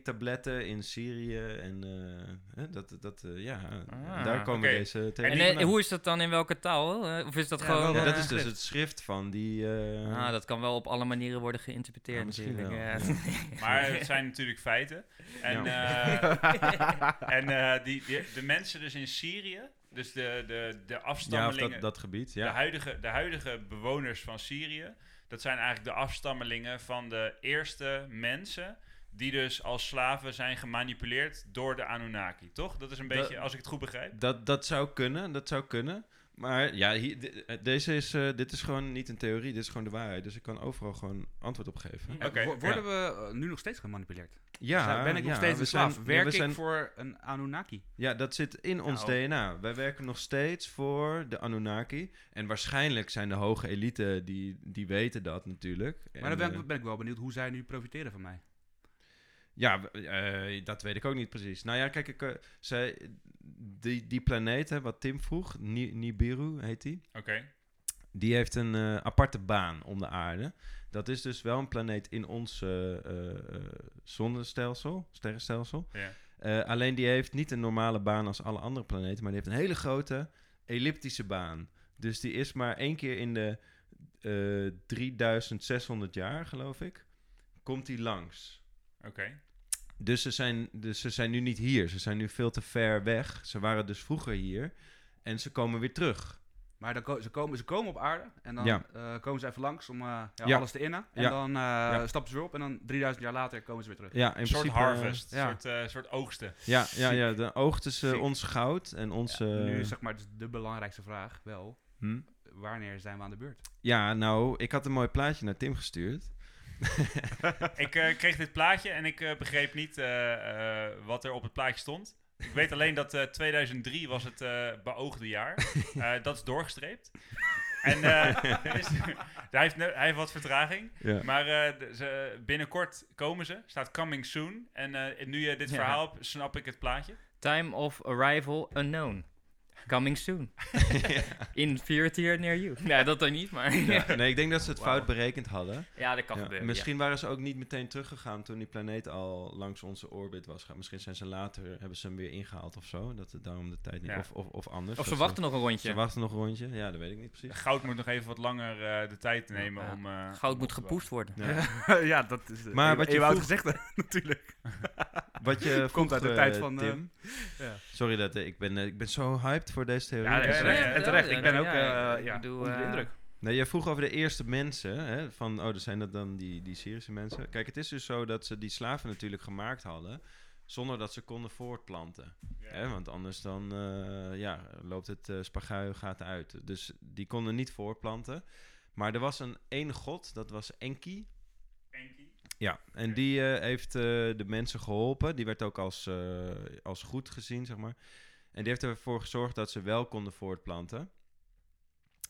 Speaker 4: kleitabletten in Syrië en eh, hè, dat, dat eh, ja,
Speaker 1: Ah,
Speaker 4: daar komen
Speaker 3: oké.
Speaker 4: deze
Speaker 1: En
Speaker 4: theorieën
Speaker 1: eh,
Speaker 4: vandaan.
Speaker 1: hoe is dat dan in welke taal? eh? Of is dat
Speaker 2: Ja,
Speaker 1: gewoon...
Speaker 2: wel,
Speaker 4: Ja,
Speaker 1: eh,
Speaker 4: dat is dus
Speaker 2: schrift?
Speaker 4: het schrift van die... eh,
Speaker 1: ah, dat kan wel op alle manieren worden geïnterpreteerd
Speaker 4: Ja, misschien
Speaker 1: natuurlijk.
Speaker 4: wel,
Speaker 1: ja.
Speaker 3: Maar het zijn natuurlijk feiten. En,
Speaker 4: *laughs*
Speaker 3: eh, en eh, die, die- de mensen dus in Syrië, dus de, de, de
Speaker 4: ja, of
Speaker 3: afstammelingen,
Speaker 4: dat, dat gebied,
Speaker 3: De,
Speaker 4: ja.
Speaker 3: huidige, de huidige bewoners van Syrië, dat zijn eigenlijk de afstammelingen van de eerste mensen die dus als slaven zijn gemanipuleerd door de Anunnaki, toch? Dat is een
Speaker 4: Dat-
Speaker 3: beetje, als ik het goed begrijp.
Speaker 4: Dat, dat zou kunnen, dat zou kunnen. Maar ja, hier, de- eh, deze is, eh, dit is gewoon niet een theorie, dit is gewoon de waarheid. Dus ik kan overal gewoon antwoord op geven.
Speaker 2: Eh,
Speaker 3: Oké,
Speaker 2: wo- worden we eh, nu nog steeds gemanipuleerd?
Speaker 4: Ja,
Speaker 2: Zijn- ben ik nog
Speaker 4: ja,
Speaker 2: steeds
Speaker 4: we
Speaker 2: een
Speaker 4: zijn-
Speaker 2: slaaf?
Speaker 4: ja, we
Speaker 2: Werk ik
Speaker 4: zijn-
Speaker 2: voor een Anunnaki?
Speaker 4: Ja, dat zit in ons
Speaker 2: Nou.
Speaker 4: DNA. Wij werken nog steeds voor de Anunnaki. En waarschijnlijk zijn de hoge elite die, die weten dat natuurlijk.
Speaker 2: Maar
Speaker 4: En,
Speaker 2: dan ben
Speaker 4: eh,
Speaker 2: ik, ben ik wel benieuwd hoe zij nu profiteren van mij.
Speaker 4: Ja, w- eh, dat weet ik ook niet precies. Nou ja, kijk, ik, eh, zij, die, die planeet, hè, wat Tim vroeg, Ni- Nibiru heet die.
Speaker 3: Oké.
Speaker 4: Die heeft een eh, aparte baan om de aarde. Dat is dus wel een planeet in ons eh, eh, eh, zonnestelsel, sterrenstelsel.
Speaker 3: Ja.
Speaker 4: Eh, alleen die heeft niet een normale baan als alle andere planeten, maar die heeft een hele grote elliptische baan. Dus die is maar één keer in de eh, 3600 jaar, geloof ik, komt die langs.
Speaker 3: Oké.
Speaker 4: Dus ze, zijn, dus ze zijn nu niet hier. Ze zijn nu veel te ver weg. Ze waren dus vroeger hier. En ze komen weer terug.
Speaker 2: Maar dan ko- ze, komen, ze komen op aarde en dan
Speaker 4: Ja.
Speaker 2: eh, komen ze even langs om eh, ja,
Speaker 4: Ja.
Speaker 2: alles te innen. En
Speaker 4: Ja.
Speaker 2: dan eh,
Speaker 4: Ja.
Speaker 2: stappen ze weer op en dan 3000 jaar later komen ze weer terug.
Speaker 4: Ja, in
Speaker 3: Een soort
Speaker 4: principe,
Speaker 3: harvest,
Speaker 2: ja.
Speaker 3: soort, eh, soort oogsten.
Speaker 4: eh, ja, ja, ja, de oogst is eh,
Speaker 2: Ziek.
Speaker 4: ons goud en ons... Ja,
Speaker 2: nu is zeg maar dus de belangrijkste vraag wel,
Speaker 4: Hm?
Speaker 2: wanneer zijn we aan de beurt?
Speaker 4: ja, nou, ik had een mooi plaatje naar Tim gestuurd.
Speaker 2: *laughs*
Speaker 3: ik eh, kreeg dit plaatje en ik eh, begreep niet eh, eh, wat er op het plaatje stond. Ik weet alleen dat eh, 2003 was het eh, beoogde jaar. Eh, dat is doorgestreept. en eh, *laughs* dus- hij, heeft, ne- hij heeft wat vertraging.
Speaker 4: Ja.
Speaker 3: Maar eh, de- ze, binnenkort komen ze. Staat coming soon. En eh, nu je dit
Speaker 1: Ja.
Speaker 3: verhaal hebt, snap ik het plaatje.
Speaker 1: Time of arrival unknown. Coming *laughs* soon. In fear tier near you. Nou, dat dan niet, maar... Ja,
Speaker 4: Ja, Nee, ik denk dat ze het fout berekend hadden.
Speaker 1: dat kan
Speaker 4: Ja,
Speaker 1: gebeuren. ja.
Speaker 4: misschien waren ze ook niet meteen teruggegaan toen die planeet al langs onze orbit was gegaan. Misschien zijn ze later, hebben ze hem weer ingehaald of zo. Dat het daarom de tijd niet...
Speaker 3: Ja.
Speaker 4: Of, of, of anders.
Speaker 1: Of ze
Speaker 4: dat
Speaker 1: wachten nog een
Speaker 4: Ze
Speaker 1: rondje.
Speaker 4: wachten nog een rondje. Ja, dat weet ik niet precies.
Speaker 3: Goud moet nog even wat langer eh, de tijd nemen
Speaker 1: Ja.
Speaker 3: om... eh,
Speaker 1: Goud
Speaker 3: om
Speaker 1: moet
Speaker 3: op te
Speaker 1: gepoest worden.
Speaker 4: Ja.
Speaker 2: *laughs* ja, dat is eh,
Speaker 4: Maar wat je
Speaker 2: oud
Speaker 4: vroeg-
Speaker 2: gezegd *laughs* natuurlijk.
Speaker 4: Wat je
Speaker 2: *laughs* Komt
Speaker 4: vroeg,
Speaker 2: uit de
Speaker 4: eh,
Speaker 2: tijd van, eh,
Speaker 4: Tim.
Speaker 2: ja.
Speaker 4: Sorry dat eh, ik ben, eh, ik ben zo hyped voor deze theorie.
Speaker 2: Ja, nee,
Speaker 4: Dus,
Speaker 2: en
Speaker 4: eh,
Speaker 2: terecht.
Speaker 1: ja,
Speaker 2: en terecht.
Speaker 1: ja,
Speaker 2: ik ben
Speaker 1: ja,
Speaker 2: ook
Speaker 1: ja,
Speaker 2: eh,
Speaker 1: ik
Speaker 2: ja,
Speaker 1: bedoel,
Speaker 2: onder de
Speaker 1: eh,
Speaker 2: indruk.
Speaker 4: Nee, jij vroeg over de eerste mensen. Hè, van, oh, zijn dat dan die, die Syrische mensen? Kijk, het is dus zo dat ze die slaven natuurlijk gemaakt hadden. Zonder dat ze konden voortplanten.
Speaker 3: wachten.
Speaker 4: Hè, want anders dan eh, ja, loopt het eh spagui gaat uit. Dus die konden niet voortplanten. Maar er was een één god, dat was Enki.
Speaker 3: Enki.
Speaker 4: Ja, en
Speaker 3: Oké.
Speaker 4: die eh, heeft eh, de mensen geholpen. Die werd ook als, eh, als goed gezien, zeg maar. En die heeft ervoor gezorgd dat ze wel konden voortplanten.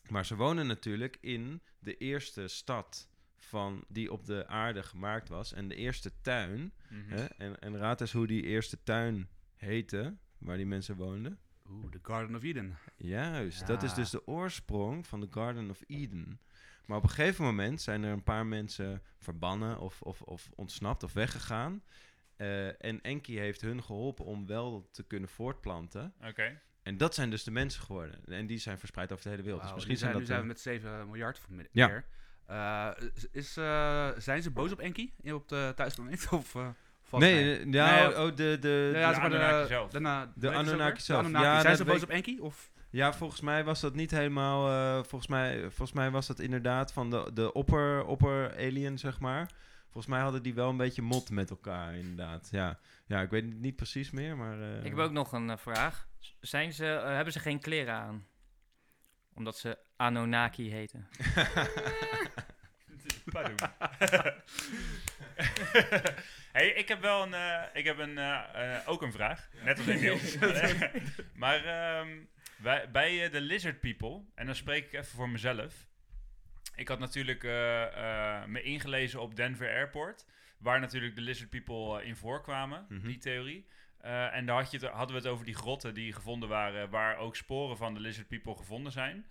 Speaker 4: Maar ze wonen natuurlijk in de eerste stad van, die op de aarde gemaakt was. En de eerste tuin.
Speaker 3: Mhm.
Speaker 4: Hè? En, en raad eens hoe die eerste tuin heette, waar die mensen woonden.
Speaker 2: Oeh, de Garden of Eden.
Speaker 4: Juist, dat is
Speaker 5: Ja.
Speaker 4: dus de oorsprong van de Garden of Eden. Maar op een gegeven moment zijn er een paar mensen verbannen of, of, of ontsnapt of weggegaan. Eh, en Enki heeft hun geholpen om wel te kunnen voortplanten.
Speaker 3: Oké.
Speaker 4: En dat zijn dus de mensen geworden. En die zijn verspreid over de hele wereld.
Speaker 2: Wauw,
Speaker 4: dus
Speaker 2: nu
Speaker 4: misschien
Speaker 2: zijn,
Speaker 4: zijn,
Speaker 2: nu zijn we
Speaker 4: dat...
Speaker 2: met 7 miljard of meer.
Speaker 4: Ja.
Speaker 2: Eh, is- is, eh, zijn ze boos op Enki in- op de thuisplaneet? Of, eh, valt
Speaker 4: nee,
Speaker 2: het mee?
Speaker 4: eh, nou,
Speaker 2: Nee,
Speaker 4: oh, de, de, de-
Speaker 2: ja,
Speaker 4: ja,
Speaker 2: zeg maar
Speaker 3: Anunnaki zelf.
Speaker 2: De, na- weet je
Speaker 4: De
Speaker 2: het ook
Speaker 4: Anunnaki
Speaker 2: weer? De
Speaker 4: zelf.
Speaker 2: Anunnaki.
Speaker 4: Ja,
Speaker 2: zijn
Speaker 4: dat
Speaker 2: ze boos
Speaker 4: weet-
Speaker 2: op Enki? Of?
Speaker 4: volgens mij was dat niet helemaal... eh, volgens, mij, volgens mij was dat inderdaad van de, de opper, opper alien, zeg maar. Volgens mij hadden die wel een beetje mot met elkaar, inderdaad. Ja, ja ik weet het niet precies meer, maar... eh,
Speaker 1: Ik heb ook nog een eh, vraag. Z- Zijn ze, eh, hebben ze geen kleren aan? Omdat ze Anunnaki heten.
Speaker 3: Pardon. *laughs* hey, ik heb wel een, eh, ik heb een, eh, eh, ook een vraag. Net als Emiel. maar ehm, wij, bij eh, de Lizard People, en dan spreek ik even voor mezelf. Ik had natuurlijk eh, eh, me ingelezen op Denver Airport, waar natuurlijk de Lizard People eh, in voorkwamen,
Speaker 4: Mhm.
Speaker 3: die theorie. Eh, en daar had je het- hadden we het over die grotten die gevonden waren, waar ook sporen van de Lizard People gevonden zijn.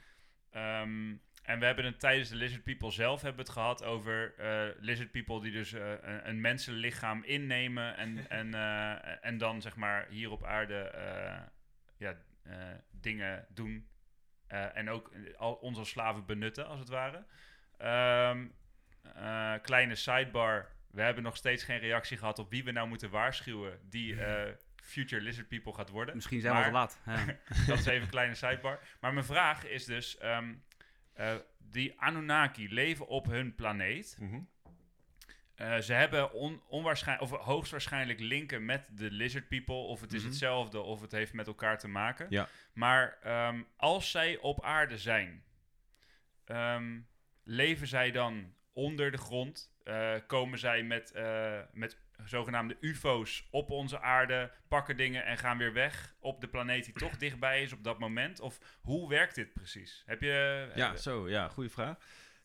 Speaker 3: Ehm, En we hebben het tijdens de Lizard People zelf hebben we het gehad over eh, Lizard People die dus eh, een, een mensenlichaam innemen en, en, eh, en dan zeg maar hier op aarde eh, ja, eh, dingen doen. Eh, en ook al ons als slaven benutten, als het ware. Ehm, eh, kleine sidebar. We hebben nog steeds geen reactie gehad op wie we nou moeten waarschuwen die eh, future lizard people gaat worden.
Speaker 2: Misschien zijn we al te
Speaker 3: Maar-
Speaker 2: laat. Ja.
Speaker 3: *laughs* Dat is even een kleine sidebar. Maar mijn vraag is dus: ehm, eh, die Anunnaki leven op hun planeet. Eh, ze hebben on, onwaarschijnlijk, of hoogstwaarschijnlijk linken met de lizard people. Of het is
Speaker 2: Mhm.
Speaker 3: hetzelfde, of het heeft met elkaar te maken.
Speaker 4: Ja.
Speaker 3: Maar ehm, als zij op aarde zijn, ehm, leven zij dan onder de grond? Eh, komen zij met, eh, met zogenaamde UFO's op onze aarde, pakken dingen en gaan weer weg op de planeet die toch dichtbij is op dat moment? Of hoe werkt dit precies? Heb je.
Speaker 4: Ja, zo, ja, goede vraag.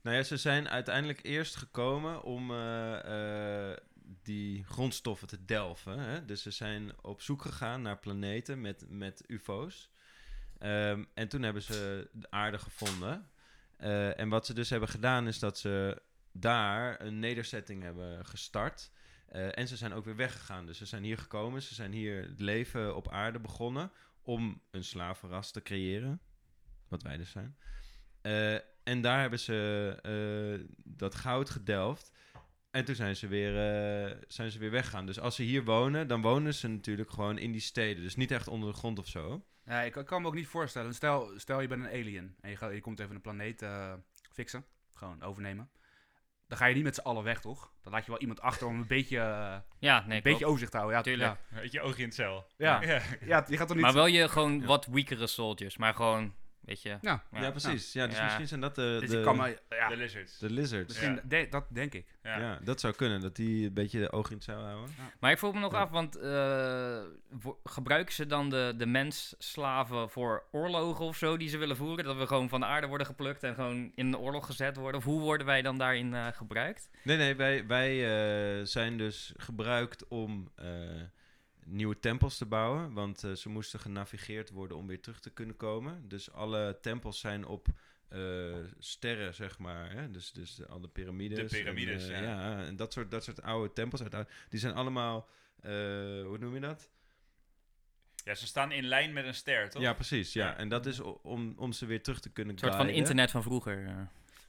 Speaker 4: Nou ja, ze zijn uiteindelijk eerst gekomen om eh, eh, die grondstoffen te delven. Hè? Dus ze zijn op zoek gegaan naar planeten met, met UFO's. Ehm, en toen hebben ze de aarde gevonden. Eh, en wat ze dus hebben gedaan is dat ze daar een nederzetting hebben gestart. Eh, en ze zijn ook weer weggegaan. Dus ze zijn hier gekomen, ze zijn hier het leven op aarde begonnen om een slavenras te creëren. Wat wij dus zijn. Eh, en daar hebben ze eh, dat goud gedelft. En toen zijn ze, weer, eh, zijn ze weer weggegaan. Dus als ze hier wonen, dan wonen ze natuurlijk gewoon in die steden. Dus niet echt onder de grond of
Speaker 2: *laughs*
Speaker 4: zo.
Speaker 2: Ja, ik, ik kan me ook niet voorstellen. Stel, stel je bent een alien en je, gaat, je komt even een planeet eh, fixen. Gewoon overnemen. Dan ga je niet met z'n allen weg, toch? Dan laat je wel iemand achter om een beetje, eh,
Speaker 1: Ja, nee,
Speaker 2: een beetje
Speaker 1: klopt.
Speaker 2: overzicht te houden. Ja, t-
Speaker 1: Tuurlijk.
Speaker 3: Weet je, oogje in het cel.
Speaker 4: Ah.
Speaker 2: Ja. Ja, ja, je gaat toch niet...
Speaker 1: Maar wel je gewoon
Speaker 4: Ja.
Speaker 1: wat weekere soldiers, maar gewoon, weet je.
Speaker 2: Ja.
Speaker 4: Ja, precies. Ja, dus
Speaker 1: Ja.
Speaker 4: misschien zijn dat de,
Speaker 2: dus
Speaker 4: de,
Speaker 2: ik kan me... Ja,
Speaker 3: De lizards.
Speaker 4: de lizards.
Speaker 2: misschien...
Speaker 3: Ja.
Speaker 2: de- dat denk ik.
Speaker 4: Ja. dat zou kunnen. Dat die een beetje de ogen in het zeil houden.
Speaker 1: Maar ik vroeg me nog
Speaker 4: Ja.
Speaker 1: af, want eh, wo- gebruiken ze dan de, de mens-slaven voor oorlogen of zo die ze willen voeren? Dat we gewoon van de aarde worden geplukt en gewoon in een oorlog gezet worden? Of hoe worden wij dan daarin eh, gebruikt?
Speaker 4: Nee, nee, wij, wij eh, zijn dus gebruikt om eh, nieuwe tempels te bouwen. Want eh, ze moesten genavigeerd worden om weer terug te kunnen komen. Dus alle tempels zijn op eh, sterren, zeg maar. Hè? Dus, dus alle piramides.
Speaker 3: De piramides,
Speaker 4: en, eh,
Speaker 3: ja.
Speaker 4: en dat soort, dat soort oude tempels. uit- uit- Die zijn allemaal, eh, hoe noem je dat?
Speaker 3: Ja, ze staan in lijn met een ster, toch?
Speaker 4: Ja, precies. Ja.
Speaker 3: Ja.
Speaker 4: En dat is o- om, om ze weer terug te kunnen
Speaker 1: Een soort van
Speaker 4: guiden.
Speaker 1: internet van vroeger. eh.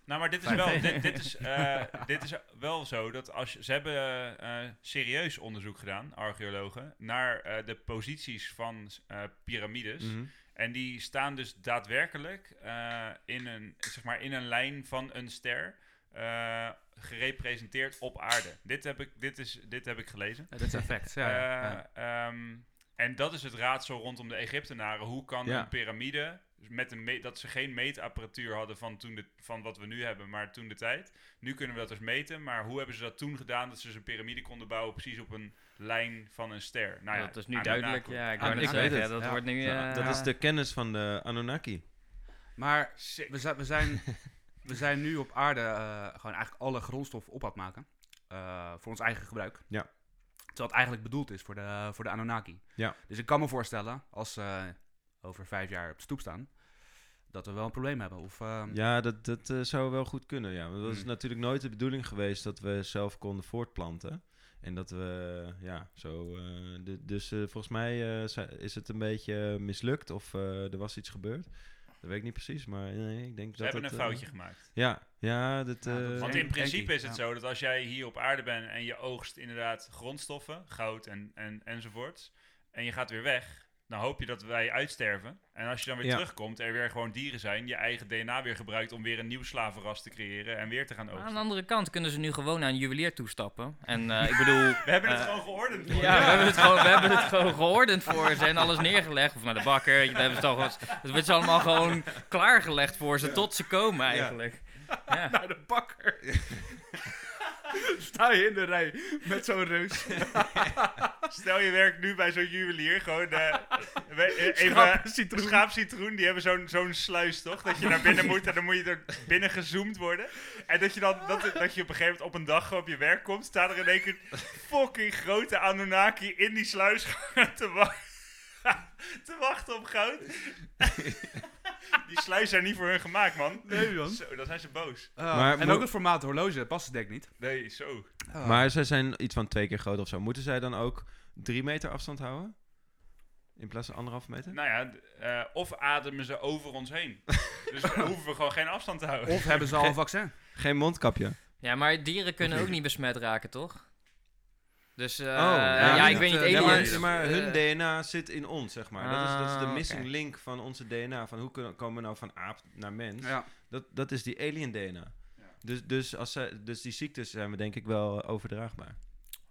Speaker 3: Nou, maar dit is wel, dit, dit is, eh, dit is wel zo dat als je- ze hebben eh, eh, serieus onderzoek gedaan, archeologen, naar eh, de posities van eh, piramides.
Speaker 4: Mhm.
Speaker 3: En die staan dus daadwerkelijk eh, in, een, zeg maar, in een lijn van een ster, eh, gerepresenteerd op aarde. Dit heb ik, dit is, dit heb ik gelezen.
Speaker 2: Dat
Speaker 1: *laughs*
Speaker 2: is effect. Ja, ja.
Speaker 3: Eh, ehm, en dat is het raadsel rondom de Egyptenaren. Hoe kan
Speaker 4: Ja.
Speaker 3: een piramide, dus met een me- dat ze geen meetapparatuur hadden van, toen de, van wat we nu hebben, maar toen de tijd. Nu kunnen we dat dus meten, maar hoe hebben ze dat toen gedaan dat ze dus een piramide konden bouwen precies op een lijn van een ster? Nou ja,
Speaker 1: dat is nu
Speaker 3: Anunnaki.
Speaker 1: duidelijk. Ja, ik
Speaker 2: Ah,
Speaker 1: wou
Speaker 2: ik
Speaker 1: net
Speaker 2: weet
Speaker 1: zeggen,
Speaker 2: het.
Speaker 1: dat
Speaker 2: Ja.
Speaker 1: wordt nu...
Speaker 4: Ja,
Speaker 1: eh,
Speaker 4: dat is de kennis van de Anunnaki.
Speaker 2: Maar
Speaker 3: Sick.
Speaker 2: We zijn, we
Speaker 4: *laughs*
Speaker 2: zijn, we zijn nu op aarde eh, gewoon eigenlijk alle grondstof op aan het maken. eh, voor ons eigen gebruik.
Speaker 4: Ja.
Speaker 2: Terwijl het eigenlijk bedoeld is voor de, voor de Anunnaki.
Speaker 4: Ja.
Speaker 2: Dus ik kan me voorstellen, als ze over vijf jaar op de stoep staan, dat we wel een probleem hebben. Of, ehm,
Speaker 4: Ja, dat, dat eh, zou wel goed kunnen. Ja. Want dat is
Speaker 2: Hmm.
Speaker 4: natuurlijk nooit de bedoeling geweest dat we zelf konden voortplanten. En dat we, eh, ja, zo. eh, de- dus eh, volgens mij eh, zij- is het een beetje eh, mislukt of eh, er was iets gebeurd. Dat weet ik niet precies, maar nee, ik denk
Speaker 3: Ze
Speaker 4: dat.
Speaker 3: hebben een
Speaker 4: het, eh,
Speaker 3: foutje gemaakt.
Speaker 4: ja, ja, dat.
Speaker 2: Ja, dat
Speaker 4: eh,
Speaker 3: Want
Speaker 2: Denk-
Speaker 3: in principe
Speaker 2: denk ik,
Speaker 3: is het
Speaker 2: ja.
Speaker 3: zo dat als jij hier op aarde bent en je oogst inderdaad grondstoffen, goud en, en, enzovoorts, en je gaat weer weg, dan hoop je dat wij uitsterven. En als je dan weer
Speaker 4: Ja.
Speaker 3: terugkomt, er weer gewoon dieren zijn, je eigen DNA weer gebruikt om weer een nieuw slavenras te creëren en weer te gaan
Speaker 1: maar aan
Speaker 3: oogsten.
Speaker 1: de andere kant kunnen ze nu gewoon naar een juwelier toestappen. En
Speaker 4: *laughs*
Speaker 1: eh, ik bedoel...
Speaker 3: We hebben het
Speaker 1: eh,
Speaker 3: gewoon geordend.
Speaker 1: Ja, We, hebben het gewoon, we hebben het gewoon geordend voor ze en alles neergelegd. Of naar de bakker, weet je, we hebben het, al gewoon, het wordt allemaal gewoon klaargelegd voor ze tot ze komen eigenlijk. Ja.
Speaker 2: Naar de bakker. Sta je in de rij met zo'n reus.
Speaker 3: Stel je werkt nu bij zo'n juwelier, gewoon eh,
Speaker 2: *laughs*
Speaker 3: we- eh, even
Speaker 2: citroen.
Speaker 3: schaapcitroen, die hebben zo'n zo'n sluis toch? Dat je naar
Speaker 2: *laughs*
Speaker 3: binnen moet en dan moet je er binnen gezoomd worden. En dat je dan, dat, dat je op een gegeven moment op een dag gewoon op je werk komt, staat er in één keer een fucking grote Anunnaki in die *laughs* sluis te, wa- te wachten op goud. *laughs* Die sluizen zijn niet voor hun gemaakt, man.
Speaker 2: Nee, man.
Speaker 3: Zo, dan zijn ze boos.
Speaker 2: Eh,
Speaker 4: *laughs* Maar
Speaker 2: en
Speaker 4: moet-
Speaker 2: ook het formaat horloge past het denk ik niet.
Speaker 3: Nee, zo.
Speaker 2: Eh,
Speaker 4: Maar zij zijn iets van twee keer groot of zo. Moeten zij dan ook drie meter afstand houden? In plaats van anderhalf meter?
Speaker 3: Nou ja, d- eh, of ademen ze over ons
Speaker 2: *laughs*
Speaker 3: heen. Dus dan hoeven we gewoon geen afstand te houden.
Speaker 2: Of hebben ze
Speaker 4: *laughs*
Speaker 2: al een vaccin?
Speaker 4: Geen mondkapje.
Speaker 1: Ja, maar dieren kunnen ook niet besmet raken, toch? Dus eh, ja,
Speaker 4: Oh, ja,
Speaker 1: ik
Speaker 2: dat,
Speaker 1: weet niet.
Speaker 2: eh,
Speaker 4: Ja,
Speaker 1: aliens,
Speaker 4: maar, maar hun
Speaker 1: eh,
Speaker 4: DNA zit in ons, zeg maar. dat, is, dat is
Speaker 1: Ah,
Speaker 4: de missing
Speaker 1: oké.
Speaker 4: link van onze DNA. Van hoe kunnen- komen we nou van aap naar mens?
Speaker 2: Ja.
Speaker 4: Dat, dat is die alien DNA. Dus, dus, als zij, dus die ziektes zijn we denk ik wel overdraagbaar.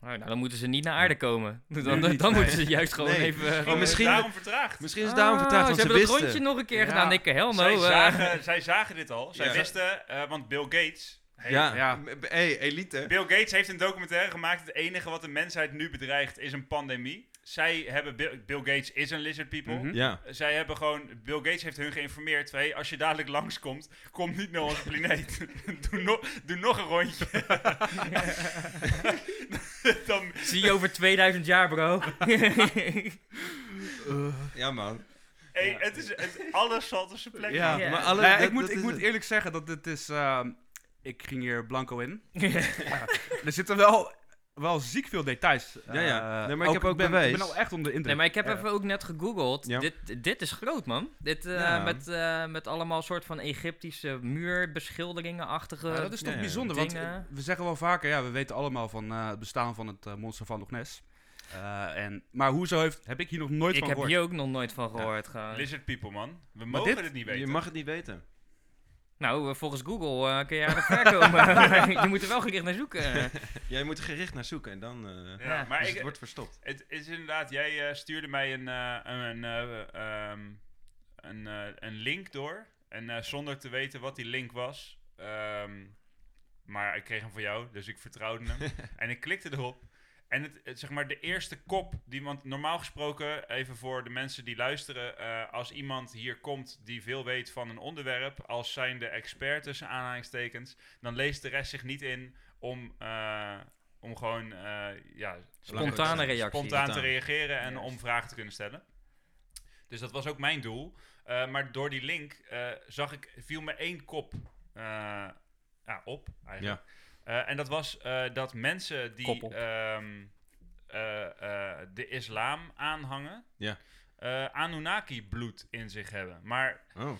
Speaker 1: oh, nou, dan moeten ze niet naar aarde
Speaker 4: *laughs*
Speaker 1: komen. Dan,
Speaker 4: Nee,
Speaker 1: dan,
Speaker 4: niet,
Speaker 1: dan
Speaker 4: nee.
Speaker 1: moeten ze juist gewoon
Speaker 4: Nee.
Speaker 1: even...
Speaker 3: Misschien
Speaker 1: gewoon-
Speaker 3: is
Speaker 4: Oh,
Speaker 3: het
Speaker 4: misschien-
Speaker 3: eh, daarom vertraagd.
Speaker 4: Misschien is het daarom vertraagd,
Speaker 1: Ah,
Speaker 4: want
Speaker 1: Ze
Speaker 4: ze
Speaker 1: hebben dat
Speaker 4: wisten.
Speaker 1: rondje nog een keer
Speaker 2: Ja.
Speaker 1: gedaan. Dikke helmo.
Speaker 3: zij,
Speaker 1: eh.
Speaker 3: zagen, zij zagen dit al. Zij
Speaker 4: Ja.
Speaker 3: wisten, eh, want Bill Gates... Hey,
Speaker 4: ja,
Speaker 2: Ja.
Speaker 4: M- hey, elite.
Speaker 3: Bill Gates heeft een documentaire gemaakt. Het enige wat de mensheid nu bedreigt is een pandemie. Zij hebben... Bill, Bill Gates is een lizard people.
Speaker 2: Mhm.
Speaker 4: Ja,
Speaker 3: Zij hebben gewoon, Bill Gates heeft hun geïnformeerd. Hey, als je dadelijk langskomt, kom niet naar onze planeet. *laughs* doe, nog, doe nog een rondje. Dan,
Speaker 1: Zie je over 2000 jaar, bro. *laughs*
Speaker 4: ja man.
Speaker 3: hey, het is, het, alles valt op zijn plek.
Speaker 2: Ja,
Speaker 1: Ja.
Speaker 2: maar
Speaker 4: alle-
Speaker 2: Nee,
Speaker 4: dat-
Speaker 2: ik moet,
Speaker 4: dat
Speaker 2: ik
Speaker 4: is
Speaker 2: moet
Speaker 4: het.
Speaker 2: eerlijk zeggen dat dit is... ehm, ik ging hier blanco
Speaker 1: *laughs*
Speaker 2: in. Er zitten wel, wel ziek veel details.
Speaker 4: Ja, ja.
Speaker 2: Eh,
Speaker 4: Nee, maar ik heb ook
Speaker 2: ben,
Speaker 4: bewijs.
Speaker 2: Ik ben al echt onder de indruk.
Speaker 1: Nee, maar ik heb
Speaker 2: Eh,
Speaker 1: even ook net gegoogeld.
Speaker 4: Ja.
Speaker 1: Dit, dit is groot, man. Dit eh,
Speaker 4: Ja.
Speaker 1: met, eh, met allemaal soort van Egyptische muurbeschilderingen-achtige...
Speaker 2: ja, dat is toch
Speaker 4: ja, ja.
Speaker 2: bijzonder, want
Speaker 1: Dingen.
Speaker 2: eh, we zeggen wel vaker, ja, we weten allemaal van eh, het bestaan van het eh, monster van Loch Ness. Eh, en, maar hoezo heeft, heb ik hier nog nooit
Speaker 1: Ik
Speaker 2: van
Speaker 1: heb
Speaker 2: gehoord.
Speaker 1: hier ook nog nooit van gehoord. gewoon.
Speaker 3: Lizard people, man. We mogen
Speaker 2: dit-
Speaker 3: het niet weten.
Speaker 4: Je mag het niet weten.
Speaker 1: Nou, eh, volgens Google eh, kun je aardig ver
Speaker 4: *laughs*
Speaker 1: komen. *laughs* je moet er wel gericht naar zoeken.
Speaker 4: Jij moet er gericht naar zoeken en dan... eh,
Speaker 3: Ja,
Speaker 1: Ja,
Speaker 3: maar
Speaker 4: dus
Speaker 3: ik,
Speaker 4: het wordt verstopt.
Speaker 3: Het is inderdaad, jij eh, stuurde mij een, eh, een, eh, ehm, een, eh, een link door. En eh, zonder te weten wat die link was. ehm, maar ik kreeg hem voor jou, dus ik vertrouwde hem. en ik klikte erop. En het, het, zeg maar de eerste kop, die, want normaal gesproken, even voor de mensen die luisteren, eh, als iemand hier komt die veel weet van een onderwerp, als zijnde expert tussen aanhalingstekens, dan leest de rest zich niet in om, eh, om gewoon eh, ja,
Speaker 1: Spontane reactie.
Speaker 3: spontaan te
Speaker 4: Spontaan.
Speaker 3: reageren en
Speaker 1: Juist.
Speaker 3: om vragen te kunnen stellen. Dus dat was ook mijn doel. Eh, maar door die link eh, zag ik, viel me één kop eh, ja, op eigenlijk. Eh, en dat was eh, dat mensen
Speaker 1: Kop
Speaker 3: die
Speaker 1: op.
Speaker 3: ehm, eh, eh, de islam aanhangen,
Speaker 4: Ja.
Speaker 3: eh, Anunnaki-bloed in zich hebben. Maar
Speaker 4: Oh.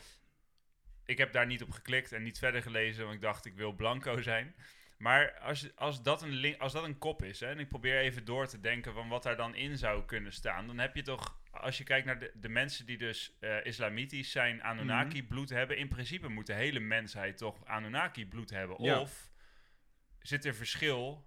Speaker 3: ik heb daar niet op geklikt en niet verder gelezen, want ik dacht ik wil blanco zijn. Maar als, als, dat, een link, als dat een kop is, hè, en ik probeer even door te denken van wat daar dan in zou kunnen staan, dan heb je toch, als je kijkt naar de, de mensen die dus eh, islamitisch zijn, Anunnaki-bloed hebben, in principe moet de hele mensheid toch Anunnaki-bloed hebben.
Speaker 4: Ja.
Speaker 3: Of zit er verschil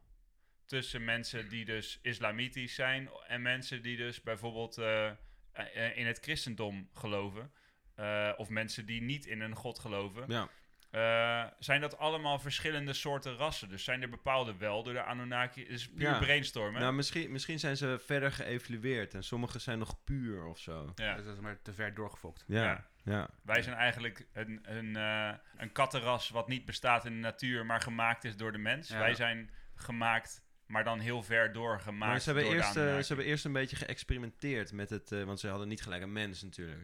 Speaker 3: tussen mensen die dus islamitisch zijn en mensen die dus bijvoorbeeld eh, eh, in het christendom geloven, eh, of mensen die niet in een god geloven.
Speaker 4: Ja.
Speaker 3: Eh, zijn dat allemaal verschillende soorten rassen? Dus zijn er bepaalde wel door de Anunnaki? Het is puur
Speaker 4: Ja.
Speaker 3: brainstormen.
Speaker 4: Nou, misschien, misschien zijn ze verder geëvalueerd en sommige zijn nog puur of zo.
Speaker 3: ja.
Speaker 2: Dus dat is maar te ver doorgefokt.
Speaker 4: Ja,
Speaker 3: Ja.
Speaker 4: ja.
Speaker 3: Wij zijn eigenlijk een, een, eh, een kattenras wat niet bestaat in de natuur, maar gemaakt is door de mens.
Speaker 2: Ja.
Speaker 3: Wij zijn gemaakt, maar dan heel ver doorgemaakt
Speaker 4: Maar ze hebben,
Speaker 3: door
Speaker 4: eerst,
Speaker 3: de
Speaker 4: eh,
Speaker 3: Anunnaki.
Speaker 4: ze hebben eerst een beetje geëxperimenteerd met het, eh, want ze hadden niet gelijk een mens natuurlijk.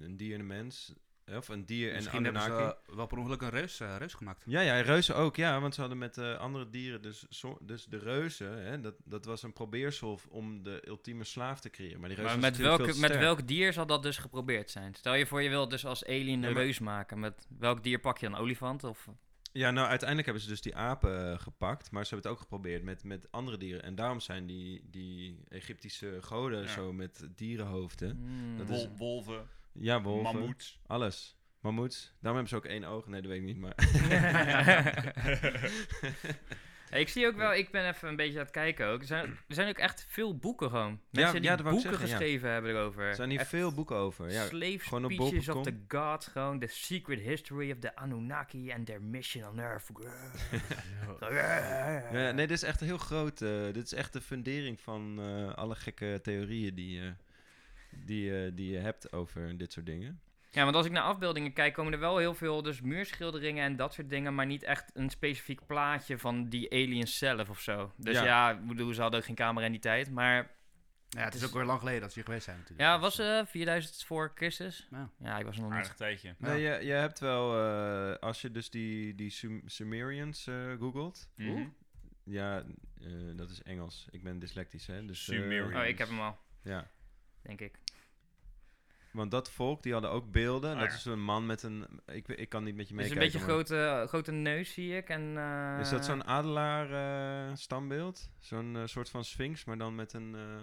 Speaker 4: Een dier en een mens, eh, of een dier en
Speaker 2: Misschien hebben
Speaker 4: Anunnaki.
Speaker 2: ze eh, wel per ongeluk een reus, eh, reus gemaakt.
Speaker 4: Ja, ja, en reuzen ook, ja, want ze hadden met eh, andere dieren, dus, zo- dus de reuzen, hè, dat, dat was een probeersel om de ultieme slaaf te creëren. Maar die reuzen
Speaker 1: Maar
Speaker 4: was
Speaker 1: met,
Speaker 4: natuurlijk
Speaker 1: welke,
Speaker 4: veel
Speaker 1: met
Speaker 4: te sterk.
Speaker 1: welk dier zal dat dus geprobeerd zijn? Stel je voor, je wilt dus als alien een
Speaker 4: Ja, maar-
Speaker 1: reus maken. Met welk dier pak je? Een olifant? Of...
Speaker 4: Ja, nou, uiteindelijk hebben ze dus die apen eh, gepakt, maar ze hebben het ook geprobeerd met, met andere dieren. En daarom zijn die, die Egyptische goden
Speaker 3: Ja.
Speaker 4: zo met dierenhoofden.
Speaker 1: Hmm.
Speaker 4: Dat is-
Speaker 3: Wol- wolven,
Speaker 4: Ja, wolven.
Speaker 3: mammoets.
Speaker 4: Alles. Mammoets. Daarom hebben ze ook één oog. Nee, dat weet ik niet, maar...
Speaker 1: Hey, ik zie ook wel, ik ben even een beetje aan het kijken ook. Er zijn, er zijn ook echt veel boeken gewoon.
Speaker 4: Ja,
Speaker 1: Mensen
Speaker 4: ja,
Speaker 1: die
Speaker 4: dat wou ik
Speaker 1: boeken
Speaker 4: zeggen, ja.
Speaker 1: geschreven hebben erover.
Speaker 4: *laughs* Er zijn hier
Speaker 1: Echt
Speaker 4: veel boeken over. Ja,
Speaker 1: Slave
Speaker 4: gewoon op
Speaker 1: Speeches of the
Speaker 4: bol.com.
Speaker 1: Gods, gewoon The Secret History of the Anunnaki and Their Mission on Earth.
Speaker 4: ja, nee, dit is echt heel groot. eh, dit is echt de fundering van eh, alle gekke theorieën die, eh, die, eh, die je hebt over dit soort dingen.
Speaker 1: Ja, want als ik naar afbeeldingen kijk, komen er wel heel veel dus muurschilderingen en dat soort dingen, maar niet echt een specifiek plaatje van die aliens zelf of zo. Dus
Speaker 4: Ja.
Speaker 1: ja, ik bedoel, ze hadden ook geen camera in die tijd, maar
Speaker 2: Ja, het is ook weer lang geleden dat ze hier geweest zijn natuurlijk.
Speaker 1: Dus- Ja, was eh 4000 voor Christus.
Speaker 2: Ja.
Speaker 1: Ja, ik was er nog niet.
Speaker 3: Aardig tijdje.
Speaker 4: Nee, je, je hebt wel, eh, als je dus die, die Sum- Sumerians eh, googelt.
Speaker 3: Mhm.
Speaker 4: Ja, eh, dat is Engels. Ik ben dyslectisch, hè. Dus, eh,
Speaker 3: Sumerians.
Speaker 1: Oh, ik heb hem al,
Speaker 4: ja,
Speaker 1: denk ik.
Speaker 4: want dat volk, die hadden ook beelden.
Speaker 1: Oh
Speaker 3: Ah,
Speaker 4: dat
Speaker 3: ja.
Speaker 4: is een man met een... Ik, ik kan niet met je
Speaker 1: Dus een
Speaker 4: meekijken.
Speaker 1: beetje
Speaker 4: maar-
Speaker 1: grote, grote neus zie ik. En, eh,
Speaker 4: Is dat zo'n adelaar eh, standbeeld? Zo'n eh, soort van sphinx, maar dan met een... eh,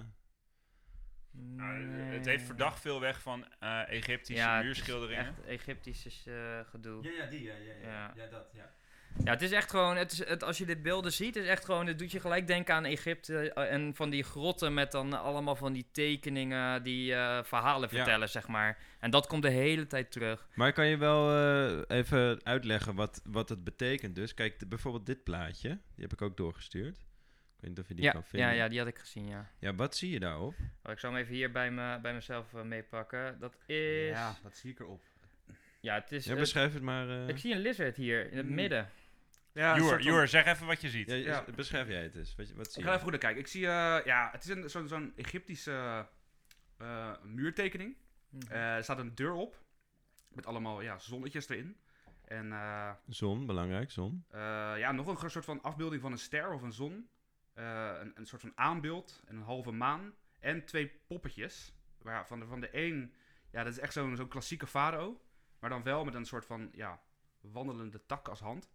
Speaker 3: Nou,
Speaker 1: nee.
Speaker 3: het heeft verdacht veel weg van eh, Egyptische
Speaker 1: Ja, het is
Speaker 3: muurschilderingen.
Speaker 1: Echt Egyptisch eh, gedoe.
Speaker 4: ja, die, ja, ja,
Speaker 1: ja. Ja.
Speaker 4: dat, ja.
Speaker 1: Ja, het is echt gewoon, het is, het, als je dit beelden ziet, het is echt gewoon, het doet je gelijk denken aan Egypte eh, en van die grotten met dan allemaal van die tekeningen die eh, verhalen
Speaker 4: Ja.
Speaker 1: vertellen, zeg maar. En dat komt de hele tijd terug.
Speaker 4: Maar kan je wel eh, even uitleggen wat, wat het betekent dus? Kijk, de- bijvoorbeeld dit plaatje, die heb ik ook doorgestuurd. Ik weet niet of je die
Speaker 1: ja,
Speaker 4: kan vinden.
Speaker 1: ja, ja, die had ik gezien, ja.
Speaker 4: Ja, wat zie je daarop?
Speaker 1: Oh, ik zal hem even hier bij, me, bij mezelf eh, meepakken. Dat is...
Speaker 2: Ja,
Speaker 1: Ja,
Speaker 2: dat zie ik erop.
Speaker 1: het is...
Speaker 4: Ja,
Speaker 1: eh,
Speaker 4: beschrijf Hmm. het maar. eh,
Speaker 1: ik zie een lizard hier, in het
Speaker 2: Mm.
Speaker 1: midden.
Speaker 2: Ja,
Speaker 3: Joer, Joer, zeg even wat je ziet.
Speaker 4: ja,
Speaker 2: ja.
Speaker 4: is- Beschrijf jij het eens. Wat, je- wat
Speaker 2: Ik
Speaker 4: zie
Speaker 2: ga
Speaker 4: je?
Speaker 2: even goed naar kijken. Ik zie, eh, ja, het is een, zo'n, zo'n Egyptische eh, muurtekening. Eh, er staat een deur op. Met allemaal ja, zonnetjes erin. En eh,
Speaker 4: Zon, belangrijk, zon.
Speaker 2: eh, ja, nog een gro- soort van afbeelding van een ster of een zon. Eh, een, een soort van aanbeeld. En een halve maan. En twee poppetjes. Waar van, de, van de één... Ja, dat is echt zo'n, zo'n klassieke farao. Maar dan wel met een soort van ja, wandelende tak als hand.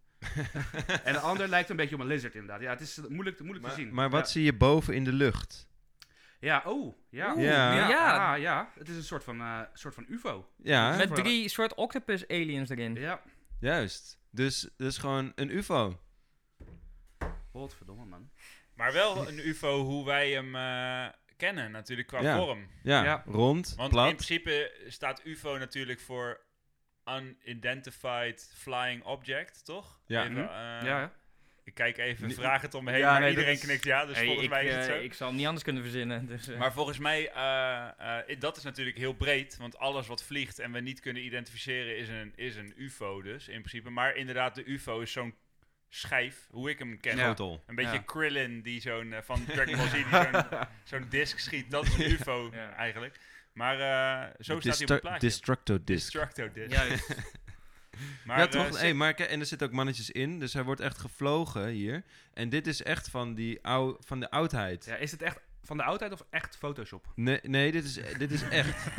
Speaker 2: en de ander lijkt een beetje op een lizard inderdaad. Ja, het is eh, moeilijk, moeilijk te
Speaker 4: Maar,
Speaker 2: zien.
Speaker 4: maar
Speaker 2: Ja.
Speaker 4: wat zie je boven in de lucht?
Speaker 2: Ja, oh, ja.
Speaker 1: Oeh,
Speaker 4: Ja.
Speaker 2: Ja,
Speaker 1: ja.
Speaker 2: ja. ja, het is een soort van, eh, soort van UFO.
Speaker 4: Ja,
Speaker 1: Met drie soort octopus aliens erin.
Speaker 4: Hm.
Speaker 2: Ja.
Speaker 4: juist. Dus dat is gewoon een UFO.
Speaker 2: Wat verdomme man.
Speaker 3: Maar wel een UFO hoe wij hem eh, kennen, natuurlijk qua
Speaker 4: Ja.
Speaker 3: vorm.
Speaker 4: Ja,
Speaker 2: Ja.
Speaker 4: rond,
Speaker 3: Want in
Speaker 4: plat.
Speaker 3: principe staat UFO natuurlijk voor Unidentified Flying Object, toch?
Speaker 4: Ja.
Speaker 3: Even,
Speaker 2: Mhm.
Speaker 3: eh,
Speaker 2: ja, ja.
Speaker 3: Ik kijk even,
Speaker 4: Nee.
Speaker 3: vraag het om me heen,
Speaker 2: Ja,
Speaker 3: maar
Speaker 2: nee, dat
Speaker 3: iedereen
Speaker 2: is-
Speaker 3: knikt ja, dus
Speaker 1: Hey,
Speaker 3: volgens
Speaker 1: ik,
Speaker 3: mij is het
Speaker 1: eh,
Speaker 3: zo.
Speaker 1: ik zal hem niet anders kunnen verzinnen. Dus, eh.
Speaker 3: Maar volgens mij, eh, eh, dat is natuurlijk heel breed, want alles wat vliegt en we niet kunnen identificeren is een, is een UFO dus, in principe. Maar inderdaad, de UFO is zo'n schijf, hoe ik hem ken.
Speaker 2: Ja.
Speaker 4: Schotel.
Speaker 3: Een beetje
Speaker 2: Ja.
Speaker 3: Krillin die zo'n eh, van Dragon Ball Z
Speaker 4: *laughs*
Speaker 3: die zo'n zo'n disc schiet. Dat is een UFO
Speaker 1: Ja.
Speaker 3: eigenlijk. Maar eh, zo
Speaker 4: De
Speaker 3: staat hij op
Speaker 4: distru-
Speaker 3: het plaatje.
Speaker 4: Destructo disc.
Speaker 3: Destructo disc. *laughs*
Speaker 1: Juist.
Speaker 3: Maar,
Speaker 4: ja,
Speaker 3: eh,
Speaker 4: toch?
Speaker 3: zit-
Speaker 4: hey, maar, kijk, en er zitten ook mannetjes in, dus hij wordt echt gevlogen hier. En dit is echt van, die ou van de oudheid.
Speaker 2: Ja, is het echt van de oudheid of echt Photoshop?
Speaker 4: Nee, nee dit, is, dit is
Speaker 3: *laughs*
Speaker 4: echt.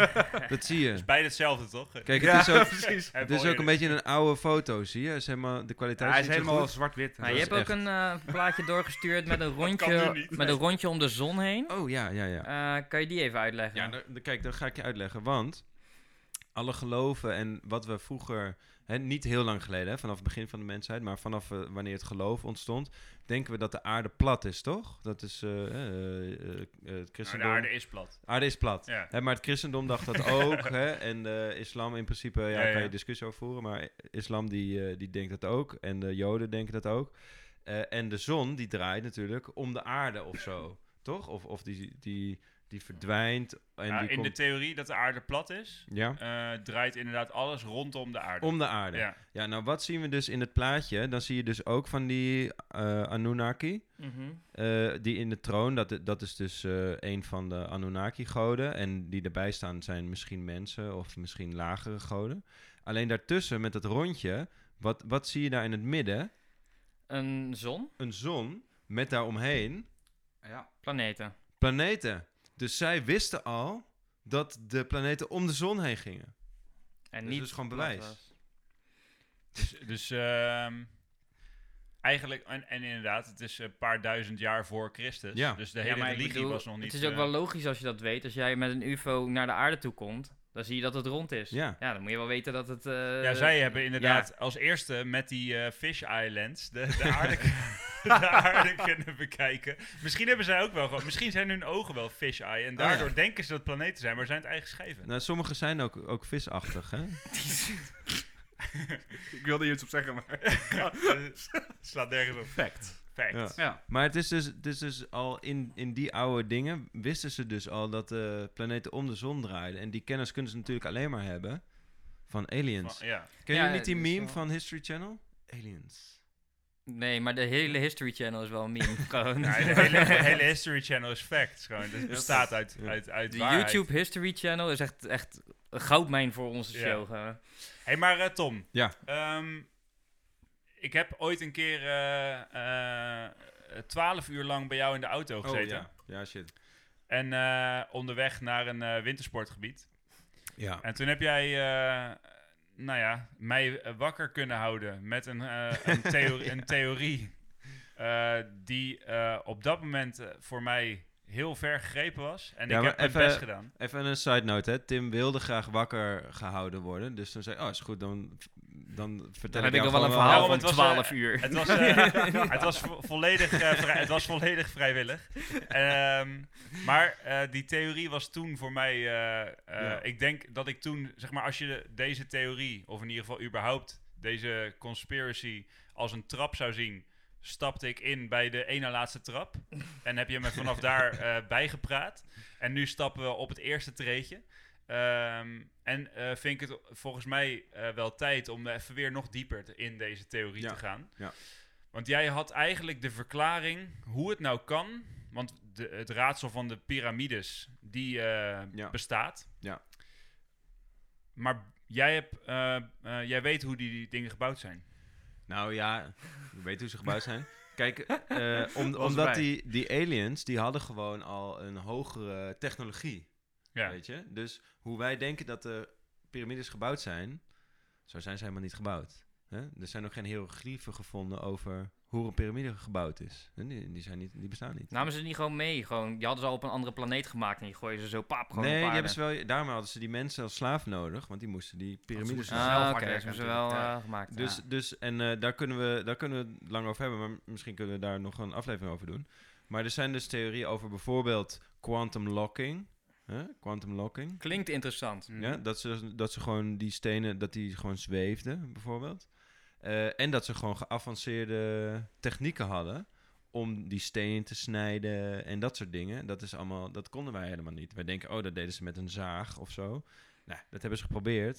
Speaker 4: dat zie je.
Speaker 3: beide hetzelfde toch? *laughs*
Speaker 4: Kijk, het is ook,
Speaker 2: precies.
Speaker 4: het is ook een beetje een oude foto, zie je? Hij Is helemaal, de kwaliteit
Speaker 2: hij is
Speaker 4: niet zo
Speaker 2: helemaal
Speaker 4: goed.
Speaker 2: zwart-wit. Dus
Speaker 1: Maar je
Speaker 4: Dat
Speaker 1: hebt
Speaker 4: is
Speaker 1: ook een eh,
Speaker 3: *laughs*
Speaker 1: plaatje doorgestuurd met een
Speaker 3: kan
Speaker 1: rondje,
Speaker 3: nu niet.
Speaker 1: met een rondje om de zon heen.
Speaker 4: Oh, ja, ja, ja.
Speaker 1: Eh, kan je die even uitleggen?
Speaker 4: Ja, daar- daar- kijk, dat ga ik je uitleggen. Want alle geloven en wat we vroeger, hè, niet heel lang geleden, hè, vanaf het begin van de mensheid, maar vanaf eh, wanneer het geloof ontstond, denken we dat de aarde plat is, toch? Dat is eh, eh, eh, eh, het
Speaker 3: Nou, de
Speaker 4: christendom.
Speaker 3: aarde is plat.
Speaker 4: aarde is plat.
Speaker 3: Ja.
Speaker 4: Hè, maar het christendom dacht dat ook. hè, en de islam in principe, ja,
Speaker 3: Ja,
Speaker 4: daar kan
Speaker 3: ja.
Speaker 4: je discussie over voeren. Maar islam die, eh, die denkt dat ook. En de joden denken dat ook. Eh, en de zon die draait natuurlijk om de aarde of zo. toch? Of, of die, die, die verdwijnt. En
Speaker 3: Ja,
Speaker 4: die
Speaker 3: in de
Speaker 4: komt,
Speaker 3: theorie dat de aarde plat is,
Speaker 4: ja,
Speaker 3: eh, draait inderdaad alles rondom de aarde.
Speaker 4: om de aarde. Ja.
Speaker 3: Ja.
Speaker 4: nou wat zien we dus in het plaatje? Dan zie je dus ook van die eh Anunnaki.
Speaker 3: nou-
Speaker 1: Mhm.
Speaker 4: Eh, die in de troon, dat, dat is dus eh, een van de Anunnaki-goden. En die erbij staan zijn misschien mensen of misschien lagere goden. Alleen daartussen met dat rondje, wat, wat zie je daar in het midden?
Speaker 1: Een zon?
Speaker 4: Een zon met daaromheen
Speaker 2: Ja.
Speaker 1: Planeten.
Speaker 4: planeten. Dus zij wisten al dat de planeten om de zon heen gingen.
Speaker 1: En
Speaker 4: Dus
Speaker 1: niet
Speaker 4: dat is gewoon
Speaker 1: plat
Speaker 4: bewijs.
Speaker 1: was.
Speaker 3: Dus, dus ehm, eigenlijk, en, en inderdaad, het is een paar duizend jaar voor Christus.
Speaker 4: Ja.
Speaker 3: Dus de hele
Speaker 1: maar ik
Speaker 3: religie
Speaker 1: bedoel,
Speaker 3: was nog niet...
Speaker 1: Het is ook
Speaker 3: eh,
Speaker 1: wel logisch als je dat weet. Als jij met een UFO naar de aarde toe komt, dan zie je dat het rond is.
Speaker 4: Ja.
Speaker 1: dan moet je wel weten dat het. eh,
Speaker 3: Ja, zij hebben inderdaad als eerste met die eh, Fish Islands de,
Speaker 1: *laughs*
Speaker 3: de, aarde, *laughs* de aarde kunnen bekijken. Misschien hebben zij ook wel gewoon... Misschien zijn hun ogen wel Fish Eye en daardoor
Speaker 4: Oh, ja.
Speaker 3: denken ze dat het planeten zijn, maar zijn het eigen schijven. *laughs*
Speaker 4: Nou, sommige zijn ook, ook visachtig, hè?
Speaker 2: Ik wilde hier iets op zeggen, maar...
Speaker 3: eh, Slaat nergens op.
Speaker 2: Fact.
Speaker 3: Fact.
Speaker 4: Ja.
Speaker 2: Ja.
Speaker 4: Maar het is dus, het is dus al in, in die oude dingen wisten ze dus al dat de planeten om de zon draaiden. En die kennis kunnen ze natuurlijk alleen maar hebben van aliens.
Speaker 3: Maar- ja.
Speaker 4: Ken je
Speaker 1: Ja,
Speaker 4: niet die
Speaker 1: dus
Speaker 4: meme
Speaker 1: wel-
Speaker 4: van History Channel? Aliens.
Speaker 1: Nee, maar de hele History Channel is wel een
Speaker 3: *laughs*
Speaker 1: meme. Gewoon.
Speaker 3: Ja, de, hele, de hele History Channel is facts gewoon. Dus het
Speaker 4: Ja.
Speaker 3: bestaat uit,
Speaker 4: Ja.
Speaker 3: uit, uit
Speaker 1: De
Speaker 3: waarheid.
Speaker 1: YouTube History Channel is echt, echt een goudmijn voor onze
Speaker 3: Ja.
Speaker 1: show. gewoon.
Speaker 3: hey, maar eh, Tom.
Speaker 4: Ja.
Speaker 3: Ehm, ik heb ooit een keer eh, twaalf uur lang bij jou in de auto gezeten.
Speaker 4: Oh, ja. ja, shit.
Speaker 3: En eh, onderweg naar een eh, wintersportgebied.
Speaker 4: Ja.
Speaker 3: En toen heb jij, eh, nou ja, mij eh, wakker kunnen houden met een, eh,
Speaker 4: *laughs*
Speaker 3: een, theorie, een theorie eh, die eh, op dat moment eh, voor mij heel ver gegrepen was. En
Speaker 4: Ja,
Speaker 3: ik
Speaker 4: maar
Speaker 3: heb mijn
Speaker 4: even-
Speaker 3: best gedaan.
Speaker 4: Even een side note, hè. Tim wilde graag wakker gehouden worden. Dus toen zei ik, oh, is goed, dan, dan vertel
Speaker 1: Dan heb
Speaker 4: ik
Speaker 1: ik nog
Speaker 4: jou
Speaker 1: wel een
Speaker 4: gewoon
Speaker 1: verhaal
Speaker 3: Daarom,
Speaker 1: van
Speaker 3: het was,
Speaker 1: 12 uur.
Speaker 3: Het was,
Speaker 4: *laughs*
Speaker 3: eh, het was vo- volledig, eh, vrij- het was volledig vrijwillig. Ehm, maar eh, die theorie was toen voor mij. eh, eh,
Speaker 4: Ja.
Speaker 3: Ik denk dat ik toen, zeg maar, als je de- deze theorie, of in ieder geval überhaupt deze conspiracy als een trap zou zien, stapte ik in bij de ene laatste trap. En heb je me vanaf daar eh, bijgepraat. En nu stappen we op het eerste treetje. Ehm, en eh, vind ik het volgens mij eh, wel tijd om even weer nog dieper te- in deze theorie
Speaker 4: Ja,
Speaker 3: te gaan.
Speaker 4: ja.
Speaker 3: Want jij had eigenlijk de verklaring hoe het nou kan. Want de, het raadsel van de piramides, die eh,
Speaker 4: Ja.
Speaker 3: bestaat.
Speaker 4: Ja.
Speaker 3: Maar jij, hebt, eh, eh, jij weet hoe die, die dingen gebouwd zijn.
Speaker 4: Nou ja, je weet hoe ze gebouwd zijn. Kijk, eh,
Speaker 1: *laughs*
Speaker 4: om-
Speaker 2: Was
Speaker 4: omdat
Speaker 2: erbij.
Speaker 4: die, die aliens, die hadden gewoon al een hogere technologie.
Speaker 3: Ja.
Speaker 4: Weet je? Dus hoe wij denken dat de piramides gebouwd zijn, zo zijn ze helemaal niet gebouwd. Hè? Er zijn ook geen hieroglyphen gevonden over hoe een piramide gebouwd is. Hè, Die, die, zijn niet, die bestaan
Speaker 1: *laughs*
Speaker 4: niet.
Speaker 1: Namen ze het niet gewoon mee? Gewoon, je hadden ze al op een andere planeet gemaakt en die gooien ze zo paap gewoon
Speaker 4: nee,
Speaker 1: op
Speaker 4: die
Speaker 1: aarde.
Speaker 4: hebben ze wel, daarom hadden ze die mensen als slaaf nodig, want die moesten die piramides
Speaker 2: moesten ze zelf
Speaker 1: Ah,
Speaker 2: hard
Speaker 1: oké, ze
Speaker 2: werken
Speaker 1: hebben ze wel
Speaker 2: natuurlijk, ja.
Speaker 1: eh, gemaakt.
Speaker 4: Dus,
Speaker 1: ja.
Speaker 4: dus en eh, daar, kunnen we, daar kunnen we het lang over hebben, maar m- misschien kunnen we daar nog een aflevering over doen. Maar er zijn dus theorieën over bijvoorbeeld quantum locking. Hè? Quantum locking.
Speaker 1: Klinkt interessant.
Speaker 2: Hm.
Speaker 4: Ja, dat, ze, dat ze gewoon die stenen, dat die gewoon zweefden, bijvoorbeeld. Eh, en dat ze gewoon geavanceerde technieken hadden om die steen te snijden en dat soort dingen. Dat is allemaal, dat konden wij helemaal niet. Wij denken, oh, dat deden ze met een zaag of zo. Nou, dat hebben ze geprobeerd.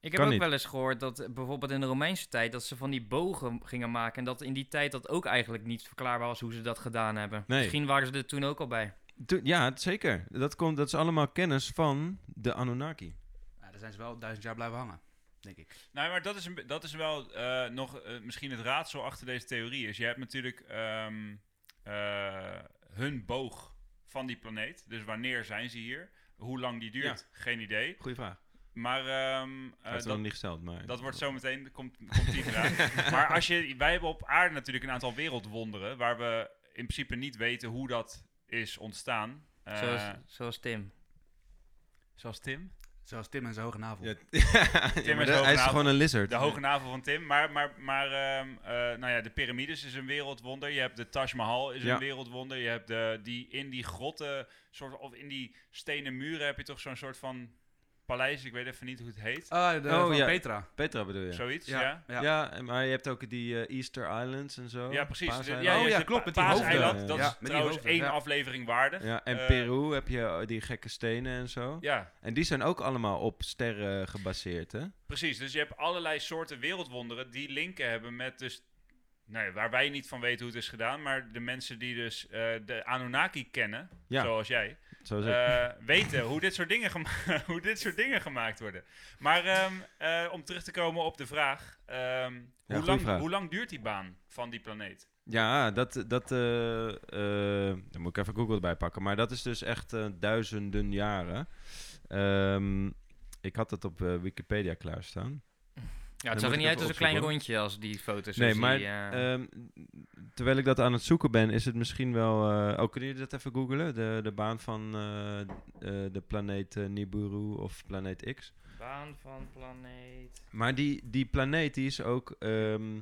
Speaker 1: Ik
Speaker 4: Kan
Speaker 1: heb ook
Speaker 4: niet.
Speaker 1: wel eens gehoord dat eh, bijvoorbeeld in de Romeinse tijd dat ze van die bogen gingen maken en dat in die tijd dat ook eigenlijk niet verklaarbaar was hoe ze dat gedaan hebben.
Speaker 4: Nee.
Speaker 1: Misschien waren ze er toen ook al bij.
Speaker 4: Toen- ja, het- zeker. Dat, komt, dat is allemaal kennis van de Anunnaki.
Speaker 2: Ja, daar zijn ze wel duizend jaar blijven hangen, denk ik.
Speaker 3: Nou, maar dat is, een, be- dat is wel eh, nog eh, misschien het raadsel achter deze theorie. Is je hebt natuurlijk ehm, eh, hun boog van die planeet. Dus wanneer zijn ze hier? Hoe lang die duurt? Geen idee.
Speaker 4: Goeie vraag. Ik
Speaker 3: Maar ehm, eh,
Speaker 4: heb het nog
Speaker 3: dat,
Speaker 4: niet gesteld, maar...
Speaker 3: dat wordt zo meteen. Komt, komt die vraag. maar als je, wij hebben op aarde natuurlijk een aantal wereldwonderen. waar we in principe niet weten hoe dat is ontstaan.
Speaker 4: Ah.
Speaker 3: Eh,
Speaker 1: Zoals, zoals Tim.
Speaker 3: zoals Tim.
Speaker 2: Zoals Tim en zijn hoge navel.
Speaker 4: *laughs* Ja, *laughs* ja, maar dat- hij is
Speaker 3: hoognavel.
Speaker 4: gewoon een lizard.
Speaker 3: De hoge navel van Tim. Maar, maar, maar ehm, eh, nou ja, de piramides is een wereldwonder. Je hebt de Taj Mahal is
Speaker 4: Ja.
Speaker 3: een wereldwonder. Je hebt de, die, in die grotten, soort, of in die stenen muren heb je toch zo'n soort van paleis. Ik weet even niet hoe het heet.
Speaker 2: Ah, de,
Speaker 4: Oh,
Speaker 2: van
Speaker 4: ja.
Speaker 2: Petra.
Speaker 4: Petra bedoel je?
Speaker 3: Zoiets, ja. Ja,
Speaker 4: Ja. en- maar je hebt ook die eh, Easter Islands en zo.
Speaker 2: Oh,
Speaker 3: precies. De-
Speaker 4: Paaseiland.
Speaker 2: ja,
Speaker 3: je
Speaker 2: ja,
Speaker 3: hebt de Pa-
Speaker 2: klopt, met die
Speaker 3: Paaseiland.
Speaker 4: hoofden.
Speaker 3: Dat
Speaker 2: Ja,
Speaker 3: is
Speaker 2: met die
Speaker 3: trouwens
Speaker 2: hoofden,
Speaker 3: één
Speaker 2: ja.
Speaker 3: aflevering waardig.
Speaker 4: Ja, en
Speaker 3: Eh,
Speaker 4: Peru heb je eh, die gekke stenen en zo.
Speaker 3: ja.
Speaker 4: En die zijn ook allemaal op sterren gebaseerd, hè?
Speaker 3: Precies, dus je hebt allerlei soorten wereldwonderen die linken hebben met dus... Nou ja, waar wij niet van weten hoe het is gedaan, maar de mensen die dus eh, de Anunnaki kennen,
Speaker 4: Ja.
Speaker 3: zoals jij,
Speaker 4: Zo is het.
Speaker 3: eh, weten hoe dit, soort dingen gema- *laughs* hoe dit soort dingen gemaakt worden. Maar ehm, eh, om terug te komen op de vraag, ehm, hoe,
Speaker 4: goeie
Speaker 3: lang,
Speaker 4: vraag.
Speaker 3: hoe lang duurt die baan van die planeet?
Speaker 4: Ja, dat... dat eh, eh, dan moet ik even Google erbij pakken. Maar dat is dus echt eh, duizenden jaren. Ehm, ik had dat op eh, Wikipedia klaarstaan.
Speaker 1: Ja, het
Speaker 4: moet
Speaker 1: zag
Speaker 4: ik
Speaker 1: er niet uit
Speaker 4: even
Speaker 1: als een klein
Speaker 4: opzoeken,
Speaker 1: rondje als die foto's.
Speaker 4: Nee,
Speaker 1: als
Speaker 4: maar
Speaker 1: die, eh,
Speaker 4: ehm, terwijl ik dat aan het zoeken ben, is het misschien wel... eh oh, kunnen jullie dat even googlen? De, de baan van eh, eh, de planeet eh, Nibiru of planeet X?
Speaker 1: Baan van planeet.
Speaker 4: Maar die, die planeet die is ook ehm,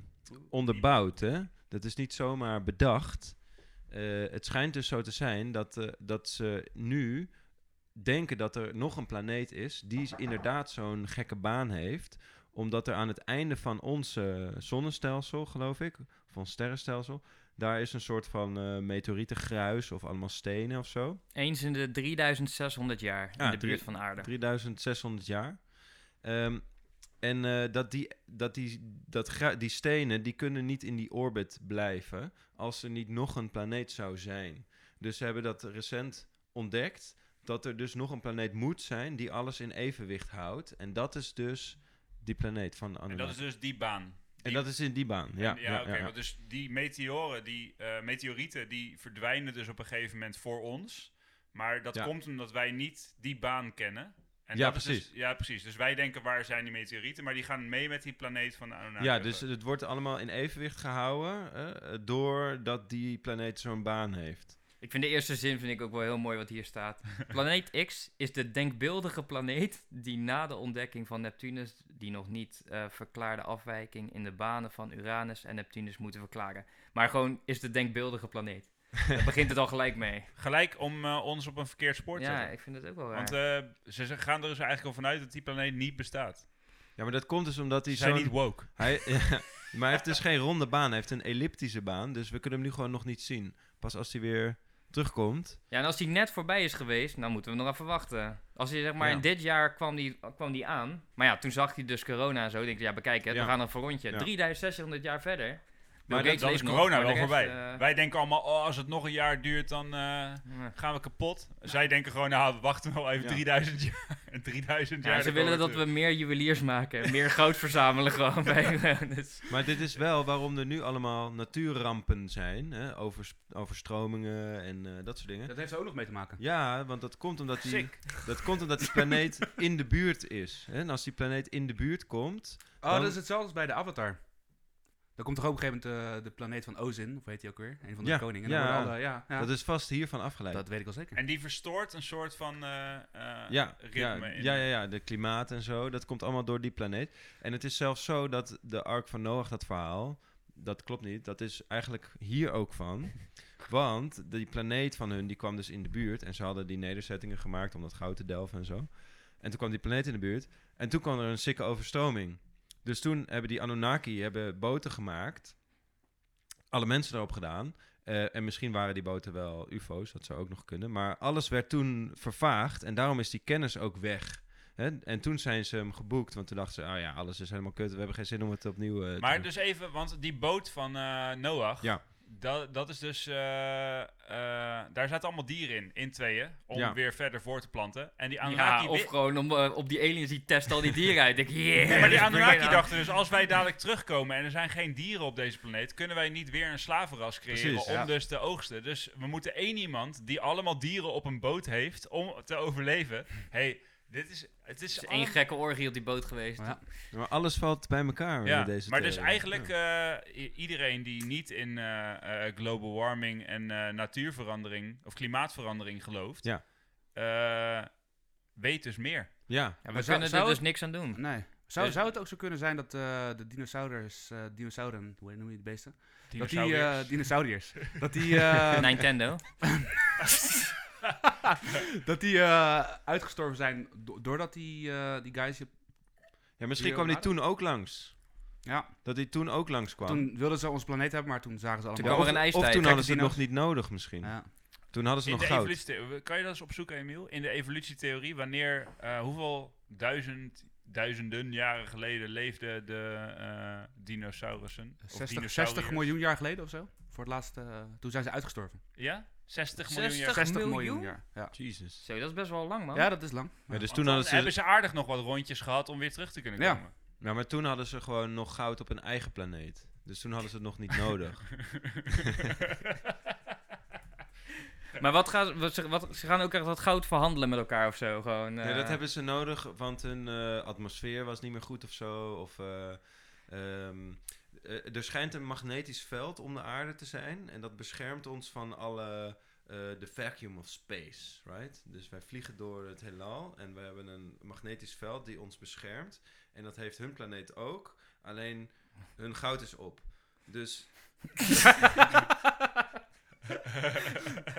Speaker 4: onderbouwd, hè? Dat is niet zomaar bedacht. Eh, het schijnt dus zo te zijn dat, eh, dat ze nu denken dat er nog een planeet is die is inderdaad zo'n gekke baan heeft omdat er aan het einde van ons eh, zonnestelsel, geloof ik, of ons sterrenstelsel, daar is een soort van eh meteorietengruis of allemaal stenen of zo.
Speaker 1: Eens in de 3600 jaar in
Speaker 4: Ah,
Speaker 1: de
Speaker 4: drie-
Speaker 1: buurt van aarde.
Speaker 4: 3600 jaar. Ehm, En eh, dat, die, dat, die, dat gra- die stenen, die kunnen niet in die orbit blijven als er niet nog een planeet zou zijn. Dus ze hebben dat recent ontdekt, dat er dus nog een planeet moet zijn die alles in evenwicht houdt. En dat is dus die planeet van
Speaker 3: En dat
Speaker 4: Anunnaki.
Speaker 3: is dus die baan.
Speaker 4: En dat is in die baan, ja.
Speaker 3: ja, oké. want Dus die meteoren, die eh, meteorieten, die verdwijnen dus op een gegeven moment voor ons. Maar dat
Speaker 4: Ja.
Speaker 3: komt omdat wij niet die baan kennen. En
Speaker 4: Ja,
Speaker 3: dat is dus-
Speaker 4: precies.
Speaker 3: ja, precies. Dus wij denken, waar zijn die meteorieten? Maar die gaan mee met die planeet van de Anunnaki.
Speaker 4: Ja, dus het wordt allemaal in evenwicht gehouden eh, doordat die planeet zo'n baan heeft.
Speaker 1: Ik vind de eerste zin vind ik ook wel heel mooi wat hier
Speaker 4: *laughs*
Speaker 1: staat. Planeet X is de denkbeeldige planeet die na de ontdekking van Neptunus die nog niet eh, verklaarde afwijking in de banen van Uranus en Neptunus moeten verklaren. Maar gewoon is de denkbeeldige
Speaker 4: *laughs*
Speaker 1: planeet. Daar begint het al gelijk mee.
Speaker 3: Gelijk om eh, ons op een verkeerd spoor te
Speaker 1: Ja,
Speaker 3: zetten.
Speaker 1: ik vind het ook wel raar.
Speaker 3: Want eh, ze ze gaan er dus eigenlijk al vanuit dat die planeet niet bestaat.
Speaker 4: Ja, maar dat komt dus omdat hij
Speaker 3: Die zijn
Speaker 4: zo'n...
Speaker 3: niet woke.
Speaker 4: Hij, *laughs* ja, maar hij heeft dus geen ronde baan, hij heeft een elliptische baan. Dus we kunnen hem nu gewoon nog niet zien. Pas als hij weer terugkomt.
Speaker 1: Ja, en als die net voorbij is geweest, dan moeten we nog even wachten. Als hij zeg maar
Speaker 4: Ja.
Speaker 1: in dit jaar kwam die, kwam die aan. Maar ja, toen zag hij dus corona en zo. Denk ik, ja, bekijk het,
Speaker 4: Ja.
Speaker 1: we gaan nog voor rondje.
Speaker 4: Ja.
Speaker 1: 3600 jaar verder.
Speaker 4: Maar
Speaker 1: Maar eh,
Speaker 4: dat-
Speaker 1: dat,
Speaker 3: Dan is corona wel voorbij. Wij denken allemaal, oh, als het nog een jaar duurt, dan eh, gaan we kapot. Zij denken gewoon, nou, we wachten wel even
Speaker 4: Ja.
Speaker 3: 3000 *laughs* jaar. 3000 jaar.
Speaker 1: ze
Speaker 3: dan
Speaker 1: willen
Speaker 3: komen
Speaker 1: dat we meer juweliers maken. en Meer goud verzamelen gewoon. Bij, dus.
Speaker 4: Maar dit is wel waarom er nu allemaal natuurrampen zijn. Hè? Overs- overstromingen en eh, dat soort dingen.
Speaker 2: Dat heeft er ook nog mee te maken.
Speaker 4: Ja, want dat komt omdat die,
Speaker 3: Sick.
Speaker 4: dat komt omdat die planeet in de buurt is. Hè? En als die planeet in de buurt komt...
Speaker 2: Oh,
Speaker 4: Dan-
Speaker 2: dat is hetzelfde als bij de Avatar. Daar komt toch ook op een gegeven moment eh, de planeet van Ozin, of heet die ook weer? Een van de
Speaker 4: Ja,
Speaker 2: koningen.
Speaker 4: ja.
Speaker 2: Ja, alle, ja, ja.
Speaker 4: Dat
Speaker 2: Dat,
Speaker 4: is vast hiervan afgeleid.
Speaker 2: weet ik wel zeker.
Speaker 3: En die verstoort een soort van eh, eh,
Speaker 4: ja, ja,
Speaker 3: ritme. in.
Speaker 4: ja, ja, ja, de klimaat en zo, dat komt allemaal door die planeet. En het is zelfs zo dat de Ark van Noach, dat verhaal, dat klopt niet, dat is eigenlijk hier ook
Speaker 3: *laughs*
Speaker 4: van. Want die planeet van hun, die kwam dus in de buurt en ze hadden die nederzettingen gemaakt om dat goud te delven en zo. En toen kwam die planeet in de buurt en toen kwam er een sikke overstroming. Dus toen hebben die Anunnaki hebben boten gemaakt, alle mensen erop gedaan. Eh, en misschien waren die boten wel UFO's, dat zou ook nog kunnen. Maar alles werd toen vervaagd en daarom is die kennis ook weg. Hè? En toen zijn ze hem geboekt, want toen dachten ze: ah ja, alles is helemaal kut, we hebben geen zin om het opnieuw eh, te
Speaker 3: Maar
Speaker 4: doen.
Speaker 3: dus even, want die boot van eh, Noach,
Speaker 4: Ja.
Speaker 3: dat, dat is dus, eh, eh, daar zaten allemaal dieren in, in tweeën, om
Speaker 4: Ja.
Speaker 3: weer verder voor te planten. En die Anunnaki,
Speaker 1: Ja, of
Speaker 3: wi-
Speaker 1: gewoon om, eh, op die aliens die testen al die dieren uit. Ik denk, yeah,
Speaker 3: maar die
Speaker 1: let's bring it
Speaker 3: Anunnaki
Speaker 1: on.
Speaker 3: dachten dus, als wij dadelijk terugkomen en er zijn geen dieren op deze planeet, kunnen wij niet weer een slavenras creëren
Speaker 4: Precies,
Speaker 3: om
Speaker 4: ja.
Speaker 3: dus te oogsten. Dus we moeten één iemand die allemaal dieren op een boot heeft om te overleven. hey, dit is,
Speaker 1: Het
Speaker 3: het is
Speaker 1: is één
Speaker 3: allemaal-
Speaker 1: gekke orgie op die boot geweest.
Speaker 2: Ja.
Speaker 4: Maar alles valt bij elkaar.
Speaker 3: dus- Ja,
Speaker 4: met deze
Speaker 3: maar dus
Speaker 4: theorie.
Speaker 3: eigenlijk eh, i- iedereen die niet in eh, eh, global warming en eh, natuurverandering of klimaatverandering gelooft,
Speaker 4: Ja.
Speaker 3: eh, weet dus meer.
Speaker 4: Ja,
Speaker 1: Ja, we
Speaker 2: Maar zou-
Speaker 1: kunnen er
Speaker 2: zou
Speaker 1: dus
Speaker 2: het-
Speaker 1: niks aan doen.
Speaker 2: Nee. Zou,
Speaker 3: Dus-
Speaker 2: zou het ook zo kunnen zijn dat eh, de dinosaurus, eh dinosauren, hoe noem je die beesten? Dat die,
Speaker 3: Dinosauriërs.
Speaker 2: eh,
Speaker 3: *laughs*
Speaker 2: dinosauriërs, dat die, eh,
Speaker 1: Nintendo.
Speaker 2: *laughs*
Speaker 3: *laughs*
Speaker 2: dat die eh, uitgestorven zijn do- doordat die, eh, die guys... hier-
Speaker 4: ja misschien
Speaker 2: Hier
Speaker 4: kwam die
Speaker 2: waren-
Speaker 4: toen ook langs.
Speaker 2: Ja,
Speaker 4: Dat die toen ook langs kwam.
Speaker 2: toen wilden ze onze planeet hebben, maar toen zagen ze
Speaker 1: Toen
Speaker 2: allemaal...
Speaker 4: Ja,
Speaker 1: kwam
Speaker 4: of,
Speaker 1: er een
Speaker 4: of
Speaker 1: ijstijd.
Speaker 4: toen hadden ze het
Speaker 2: dino's.
Speaker 4: nog niet nodig, misschien.
Speaker 2: Ja.
Speaker 4: Toen hadden ze
Speaker 3: in
Speaker 4: nog
Speaker 3: de
Speaker 4: goud.
Speaker 3: evolutietheorie, kan je dat eens opzoeken, Emiel? In de evolutietheorie, wanneer, eh, hoeveel duizend, duizenden jaren geleden leefden de eh, dinosaurussen? Of
Speaker 2: 60,
Speaker 3: dinosauriërs?
Speaker 2: 60 miljoen jaar geleden of zo. Voor het laatste, eh, toen zijn ze uitgestorven.
Speaker 3: Ja? 60 miljoen jaar.
Speaker 1: 60
Speaker 2: 60 miljoen
Speaker 1: miljoen?
Speaker 2: jaar. Ja.
Speaker 4: Jesus.
Speaker 1: Zo, dat is best wel lang, man.
Speaker 2: ja, dat is lang.
Speaker 4: Ja, dus
Speaker 3: Want
Speaker 4: toen
Speaker 3: dan
Speaker 4: hadden ze,
Speaker 3: hebben ze aardig nog wat rondjes gehad om weer terug te kunnen
Speaker 2: Ja.
Speaker 3: komen.
Speaker 4: ja, maar toen hadden ze gewoon nog goud op hun eigen planeet. Dus toen hadden ze het
Speaker 3: *laughs*
Speaker 4: nog niet nodig.
Speaker 1: Maar wat gaan ze, wat, ze- wat, ze gaan ook echt dat goud verhandelen met elkaar of zo. Gewoon,
Speaker 4: Nee, dat
Speaker 1: eh,
Speaker 4: hebben ze nodig, want hun eh, atmosfeer was niet meer goed of zo. Of, eh, ehm, eh, er schijnt een magnetisch veld om de aarde te zijn. En dat beschermt ons van alle. eh, de vacuum of space, right? Dus wij vliegen door het heelal en we hebben een magnetisch veld die ons beschermt. En dat heeft hun planeet ook, alleen hun goud is op. Dus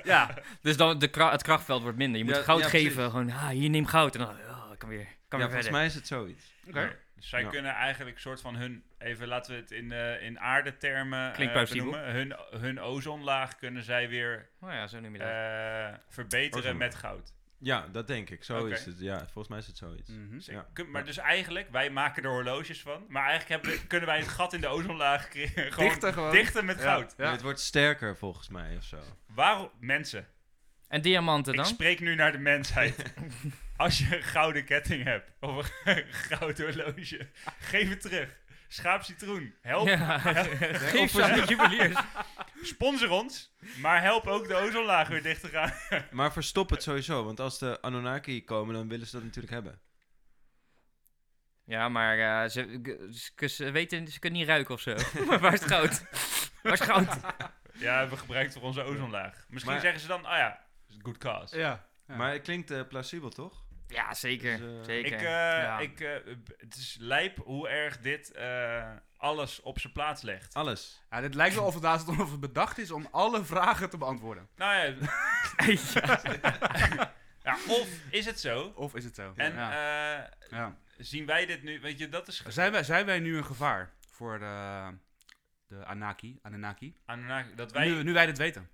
Speaker 1: Ja, dus dan de kra- het krachtveld wordt minder. Je moet
Speaker 4: Ja,
Speaker 1: goud
Speaker 4: ja,
Speaker 1: geven.
Speaker 4: precies.
Speaker 1: Gewoon, ah, hier neem goud. En dan, oh, ik kan weer,
Speaker 4: ja,
Speaker 1: kan weer
Speaker 4: volgens
Speaker 1: verder.
Speaker 4: mij is het zoiets.
Speaker 2: Oké.
Speaker 3: Nee, Dus zij
Speaker 4: Ja.
Speaker 3: kunnen eigenlijk soort van hun, even laten we het in, eh in aardetermen
Speaker 1: Klinkt
Speaker 3: eh,
Speaker 1: plausibel.
Speaker 3: benoemen, hun, hun ozonlaag kunnen zij weer
Speaker 1: Oh ja, zo noem je dat.
Speaker 3: eh, verbeteren
Speaker 4: Ozonlaag.
Speaker 3: met goud.
Speaker 4: Ja, dat denk ik. Zo
Speaker 3: Oké.
Speaker 4: is het. Ja, volgens mij is het zoiets.
Speaker 2: Mhm.
Speaker 3: Zeker.
Speaker 4: Ja.
Speaker 3: Kun- Maar dus eigenlijk, wij maken er horloges van. Maar eigenlijk hebben, we- kunnen wij het gat in de ozonlaag creëren. *laughs* gewoon
Speaker 2: Dichter gewoon.
Speaker 3: Dichter met
Speaker 2: Ja.
Speaker 3: goud.
Speaker 2: Ja.
Speaker 4: Het wordt sterker volgens mij of
Speaker 3: *laughs*
Speaker 4: zo.
Speaker 3: Waarom, mensen,
Speaker 1: En diamanten
Speaker 3: ik
Speaker 1: dan? *laughs*
Speaker 3: spreek nu naar de mensheid. Als je een gouden ketting hebt, of een *laughs* gouden horloge, geef het terug. Schaap citroen, *laughs* help.
Speaker 4: *laughs*
Speaker 1: Ja.
Speaker 3: Of-
Speaker 1: Geef ze aan de juweliers.
Speaker 3: Sponsor ons, maar help ook de ozonlaag weer dicht te gaan.
Speaker 4: Maar verstop het sowieso, want als de Anunnaki komen, dan willen ze dat natuurlijk hebben.
Speaker 1: *laughs* Ja, maar eh, ze, g- ze, ze weten, ze kunnen niet ruiken of zo. *laughs* maar waar is het
Speaker 4: *laughs*
Speaker 1: goud? waar is het goud?
Speaker 3: Ja, hebben we gebruikt voor onze ozonlaag. Misschien
Speaker 4: Maar-
Speaker 3: zeggen ze dan, ah ja, good cause.
Speaker 2: Ja. Ja.
Speaker 4: Maar het klinkt eh, plausibel, toch?
Speaker 1: Ja, zeker.
Speaker 4: Dus, eh,
Speaker 1: zeker.
Speaker 3: Ik, eh,
Speaker 1: Ja.
Speaker 3: ik, eh, b- het is lijp hoe erg dit eh, alles op zijn plaats legt.
Speaker 2: Oh.
Speaker 4: Alles.
Speaker 2: Ja, dit lijkt wel of het laatst *laughs* of het bedacht is om alle vragen te beantwoorden.
Speaker 3: Nou
Speaker 2: *laughs*
Speaker 3: ja. *laughs* ja, of is het zo?
Speaker 2: Of is het zo?
Speaker 3: En
Speaker 2: ja.
Speaker 3: eh,
Speaker 2: Ja.
Speaker 3: zien wij dit nu? Weet je, dat is. ge-
Speaker 2: Zijn, wij, zijn wij nu een gevaar voor de, de Anaki, Anunnaki?
Speaker 3: Anunnaki- dat wij,
Speaker 2: nu, nu wij dit weten.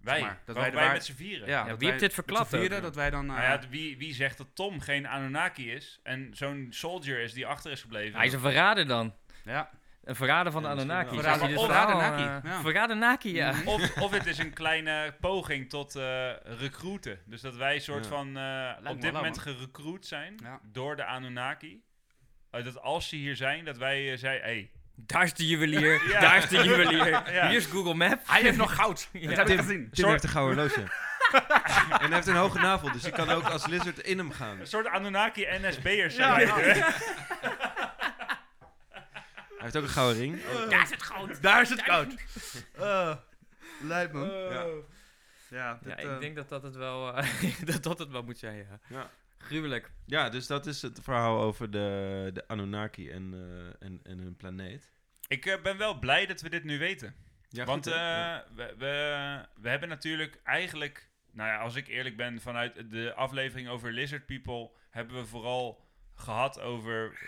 Speaker 3: wij,
Speaker 2: maar, dat
Speaker 3: dat
Speaker 2: wij
Speaker 3: wij,
Speaker 2: de waar-
Speaker 3: met z'n vieren.
Speaker 2: Ja,
Speaker 1: wie
Speaker 2: dat
Speaker 1: heeft
Speaker 2: wij
Speaker 1: dit verklapt
Speaker 2: met z'n vieren,
Speaker 1: ook?
Speaker 2: dat wij dan... eh,
Speaker 3: Nou ja, d- wie, wie zegt dat Tom geen Anunnaki is en zo'n soldier is die achter is gebleven?
Speaker 1: Hij is een verrader dan.
Speaker 2: ja.
Speaker 1: Een verrader van
Speaker 4: Ja,
Speaker 1: de
Speaker 4: misschien
Speaker 1: Anunnaki.
Speaker 4: wel.
Speaker 1: Zoals hij dit
Speaker 2: Verrader-
Speaker 1: verhaal,
Speaker 2: Verrader
Speaker 1: eh,
Speaker 2: Naki, ja.
Speaker 1: Verrader Naki, ja.
Speaker 3: *laughs* Of, of het is een kleine poging tot eh, recruiten. Dus dat wij soort
Speaker 4: Ja.
Speaker 3: van eh,
Speaker 2: me
Speaker 3: op
Speaker 2: wel
Speaker 3: dit
Speaker 2: lauw,
Speaker 3: moment gerecruit zijn
Speaker 2: Ja.
Speaker 3: door de Anunnaki. Eh, dat als ze hier zijn, dat wij eh, zeiden, hey,
Speaker 1: Daar is de juwelier.
Speaker 3: Ja.
Speaker 1: Daar is de juwelier.
Speaker 3: Ja.
Speaker 1: Hier is Google Map.
Speaker 2: Hij heeft nog
Speaker 1: *laughs*
Speaker 2: goud.
Speaker 1: Ja.
Speaker 2: Dat heb ik
Speaker 4: Tim-
Speaker 2: gezien. *laughs*
Speaker 4: Tim
Speaker 3: Soort-
Speaker 4: heeft een gouden
Speaker 3: *laughs*
Speaker 4: horloge. *laughs* en hij heeft een hoge navel, dus hij kan ook als lizard in hem gaan.
Speaker 3: een soort Anunnaki NSB'ers zijn wij.
Speaker 4: Hij heeft ook een gouden ring.
Speaker 1: Daar is het goud.
Speaker 2: *laughs* Daar is het goud. Eh Lijp man.
Speaker 4: Ja.
Speaker 2: Ja,
Speaker 1: Ja,
Speaker 2: dit,
Speaker 1: ik
Speaker 2: Oh. eh,
Speaker 1: denk dat dat het wel, eh, *laughs* dat dat het wel moet zijn, ja.
Speaker 4: Ja.
Speaker 1: Gruwelijk.
Speaker 4: Ja, dus dat is het verhaal over de, de Anunnaki en, eh, en, en hun planeet.
Speaker 3: *laughs* Ik eh, ben wel blij dat we dit nu weten.
Speaker 4: Ja,
Speaker 3: Want
Speaker 4: goed, hè? Ja.
Speaker 3: eh, we, we, we hebben natuurlijk eigenlijk, nou ja, als ik eerlijk ben, vanuit de aflevering over Lizard People hebben we vooral gehad over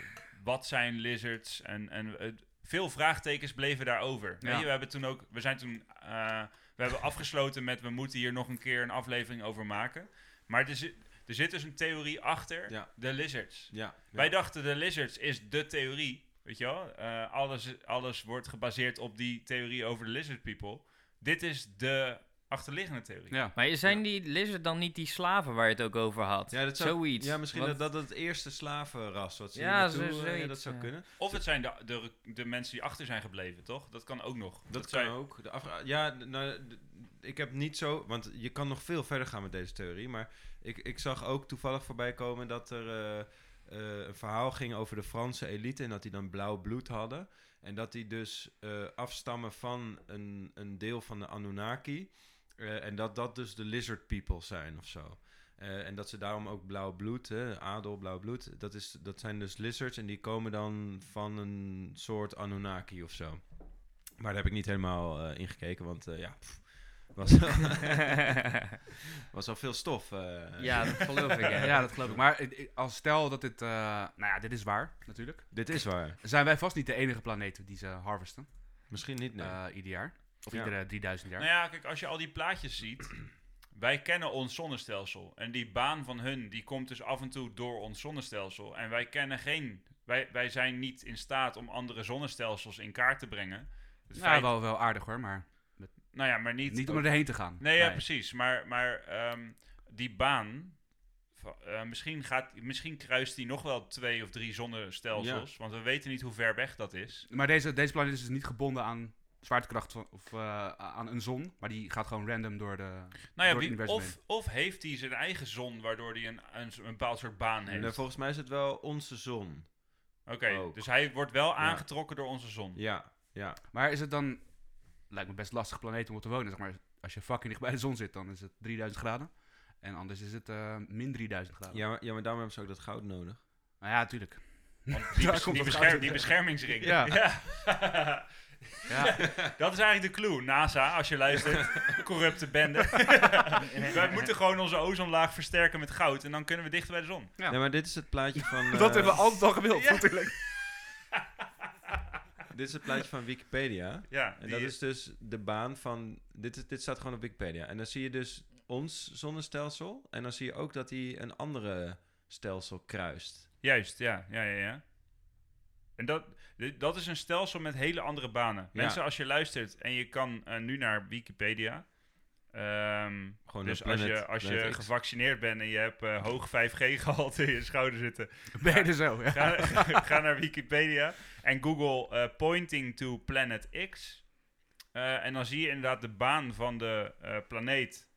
Speaker 3: wat zijn lizards en, en eh, veel vraagtekens bleven daarover.
Speaker 2: Ja.
Speaker 3: Weet je, we hebben toen ook, we zijn toen, eh, we
Speaker 4: *laughs*
Speaker 3: hebben afgesloten met we moeten hier nog een keer een aflevering over maken. Maar er zit, er zit dus een theorie achter
Speaker 4: Ja.
Speaker 3: de lizards.
Speaker 4: ja, ja.
Speaker 3: Wij dachten de lizards is de theorie. Weet je wel? Eh, alles, alles wordt gebaseerd op die theorie over de lizard people. Dit is de achterliggende theorie.
Speaker 2: ja.
Speaker 1: Maar zijn die lizard dan niet die slaven waar je het ook over had?
Speaker 4: Ja, dat zou-
Speaker 1: Zoiets.
Speaker 4: Ja, misschien
Speaker 1: Want-
Speaker 4: dat dat het eerste slavenras wat ze
Speaker 1: Ja,
Speaker 4: hier naartoe,
Speaker 1: zo-
Speaker 4: eh,
Speaker 1: zoiets,
Speaker 4: dat zou
Speaker 1: ja.
Speaker 4: kunnen.
Speaker 3: Of het zijn de, de, de mensen die achter zijn gebleven, toch? Dat kan ook nog.
Speaker 4: Dat, kan
Speaker 3: zou je-
Speaker 4: ook. De afra- ja, d- nou, d- ik heb niet zo... Want je kan nog veel verder gaan met deze theorie. Maar ik, ik zag ook toevallig voorbij komen dat er eh, eh, een verhaal ging over de Franse elite... en dat die dan blauw bloed hadden. En dat die dus eh, afstammen van een, een deel van de Anunnaki. eh, en dat dat dus de lizard people zijn of zo. Eh, en dat ze daarom ook blauw bloed, hè, adel, blauw bloed... Dat, is, dat zijn dus lizards en die komen dan van een soort Anunnaki of zo. Maar daar heb ik niet helemaal eh in gekeken, want eh, ja, pff, was,
Speaker 2: *laughs*
Speaker 4: was al veel stof. eh.
Speaker 1: Ja, dat
Speaker 4: *laughs*
Speaker 1: geloof ik. Ja.
Speaker 2: Ja, dat geloof ik. Maar ik- ik- als stel dat dit... eh, nou ja, dit is waar, natuurlijk.
Speaker 4: Dit is waar.
Speaker 2: Zijn wij vast niet de enige planeet die ze harvesten.
Speaker 4: Misschien niet, nee.
Speaker 2: eh, ieder jaar. Of
Speaker 4: Ja.
Speaker 2: iedere 3000 jaar.
Speaker 3: Nou ja, kijk, als je al die plaatjes ziet. *clears throat* Wij kennen ons zonnestelsel. En die baan van hun, die komt dus af en toe door ons zonnestelsel. En wij kennen geen... Wij, wij zijn niet in staat om andere zonnestelsels in kaart te brengen. Het
Speaker 2: Ja,
Speaker 3: feit-
Speaker 2: wel, wel aardig hoor, maar
Speaker 3: nou ja, maar
Speaker 2: niet om erheen te gaan.
Speaker 3: Nee, ja, precies. Maar, maar ehm, die baan, va- eh, misschien, gaat, misschien kruist die nog wel twee of drie zonnestelsels. Want we weten niet hoe ver weg dat is.
Speaker 2: Maar deze, deze planeet is dus niet gebonden aan zwaartekracht van, of eh, aan een zon. Maar die gaat gewoon random door de...
Speaker 3: Nou ja,
Speaker 2: Door het
Speaker 3: wie-
Speaker 2: universum
Speaker 3: of, of heeft hij zijn eigen zon, waardoor hij een, een, een bepaald soort baan heeft.
Speaker 4: Nou, volgens mij is het wel onze zon.
Speaker 3: Oké,
Speaker 2: Oh.
Speaker 4: ook.
Speaker 3: dus hij wordt wel aangetrokken door onze zon.
Speaker 4: Ja, ja.
Speaker 2: Maar is het dan... Lijkt me best lastig planeet om op te wonen. Zeg maar, als je fucking dicht bij de zon zit, dan is het 3000 graden. En anders is het eh, min 3000 graden.
Speaker 4: Ja, maar, ja, maar daarom hebben ze ook dat goud nodig.
Speaker 2: Nou ja, natuurlijk. *laughs*
Speaker 3: Want die,
Speaker 2: Daar
Speaker 3: bes-
Speaker 2: komt
Speaker 3: die,
Speaker 2: het
Speaker 3: bescherm-
Speaker 2: uit.
Speaker 3: die beschermingsring.
Speaker 2: Ja.
Speaker 3: *laughs* Ja.
Speaker 2: Ja.
Speaker 3: *laughs* Dat is eigenlijk de clue. NASA, als je
Speaker 2: *laughs*
Speaker 3: luistert, corrupte bende. *laughs* Wij moeten gewoon onze ozonlaag versterken met goud. En dan kunnen we dichter bij de zon.
Speaker 2: Ja.
Speaker 4: Nee, maar dit is het plaatje van...
Speaker 2: *laughs* *laughs*
Speaker 4: eh,
Speaker 2: Dat hebben we altijd al gewild, *laughs* natuurlijk.
Speaker 4: Dit is het plaatje van Wikipedia.
Speaker 3: Ja,
Speaker 4: En
Speaker 3: die
Speaker 4: dat is dus de baan van... Dit, is, dit staat gewoon op Wikipedia. En dan zie je dus ons zonnestelsel. En dan zie je ook dat hij een andere stelsel kruist.
Speaker 3: Juist, ja. ja, ja, ja. En dat, d- dat is een stelsel met hele andere banen.
Speaker 4: Ja.
Speaker 3: Mensen, als je luistert en je kan eh, nu naar Wikipedia. ehm,
Speaker 4: Gewoon
Speaker 3: dus
Speaker 4: een
Speaker 3: als
Speaker 4: Oh,
Speaker 3: je,
Speaker 4: planet-
Speaker 3: als je
Speaker 4: planet X.
Speaker 3: gevaccineerd bent en je hebt eh, hoog *laughs* 5G-gehalte in je schouder zitten,
Speaker 2: Ben je er dus zo, ja.
Speaker 3: ga, *laughs* ga naar Wikipedia en Google eh, pointing to planet X. Eh, en dan zie je inderdaad de baan van de eh, planeet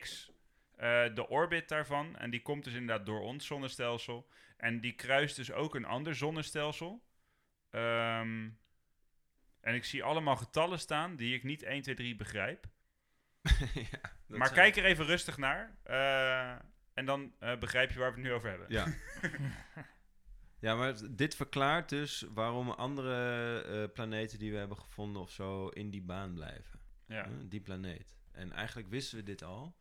Speaker 3: X, eh, de orbit daarvan. En die komt dus inderdaad door ons zonnestelsel. En die kruist dus ook een ander zonnestelsel. Ehm, en ik zie allemaal getallen staan die ik niet 1, 2, 3 begrijp.
Speaker 4: *laughs* Ja, dat
Speaker 3: maar
Speaker 4: zijn-
Speaker 3: kijk er even rustig naar. eh, en dan eh, begrijp je waar we het nu over hebben. *laughs*
Speaker 4: Ja. ja, maar het- dit verklaart dus waarom andere eh, planeten die we hebben gevonden of zo in die baan blijven.
Speaker 3: Ja. Nou
Speaker 4: Hè, Die planeet. En eigenlijk wisten we dit al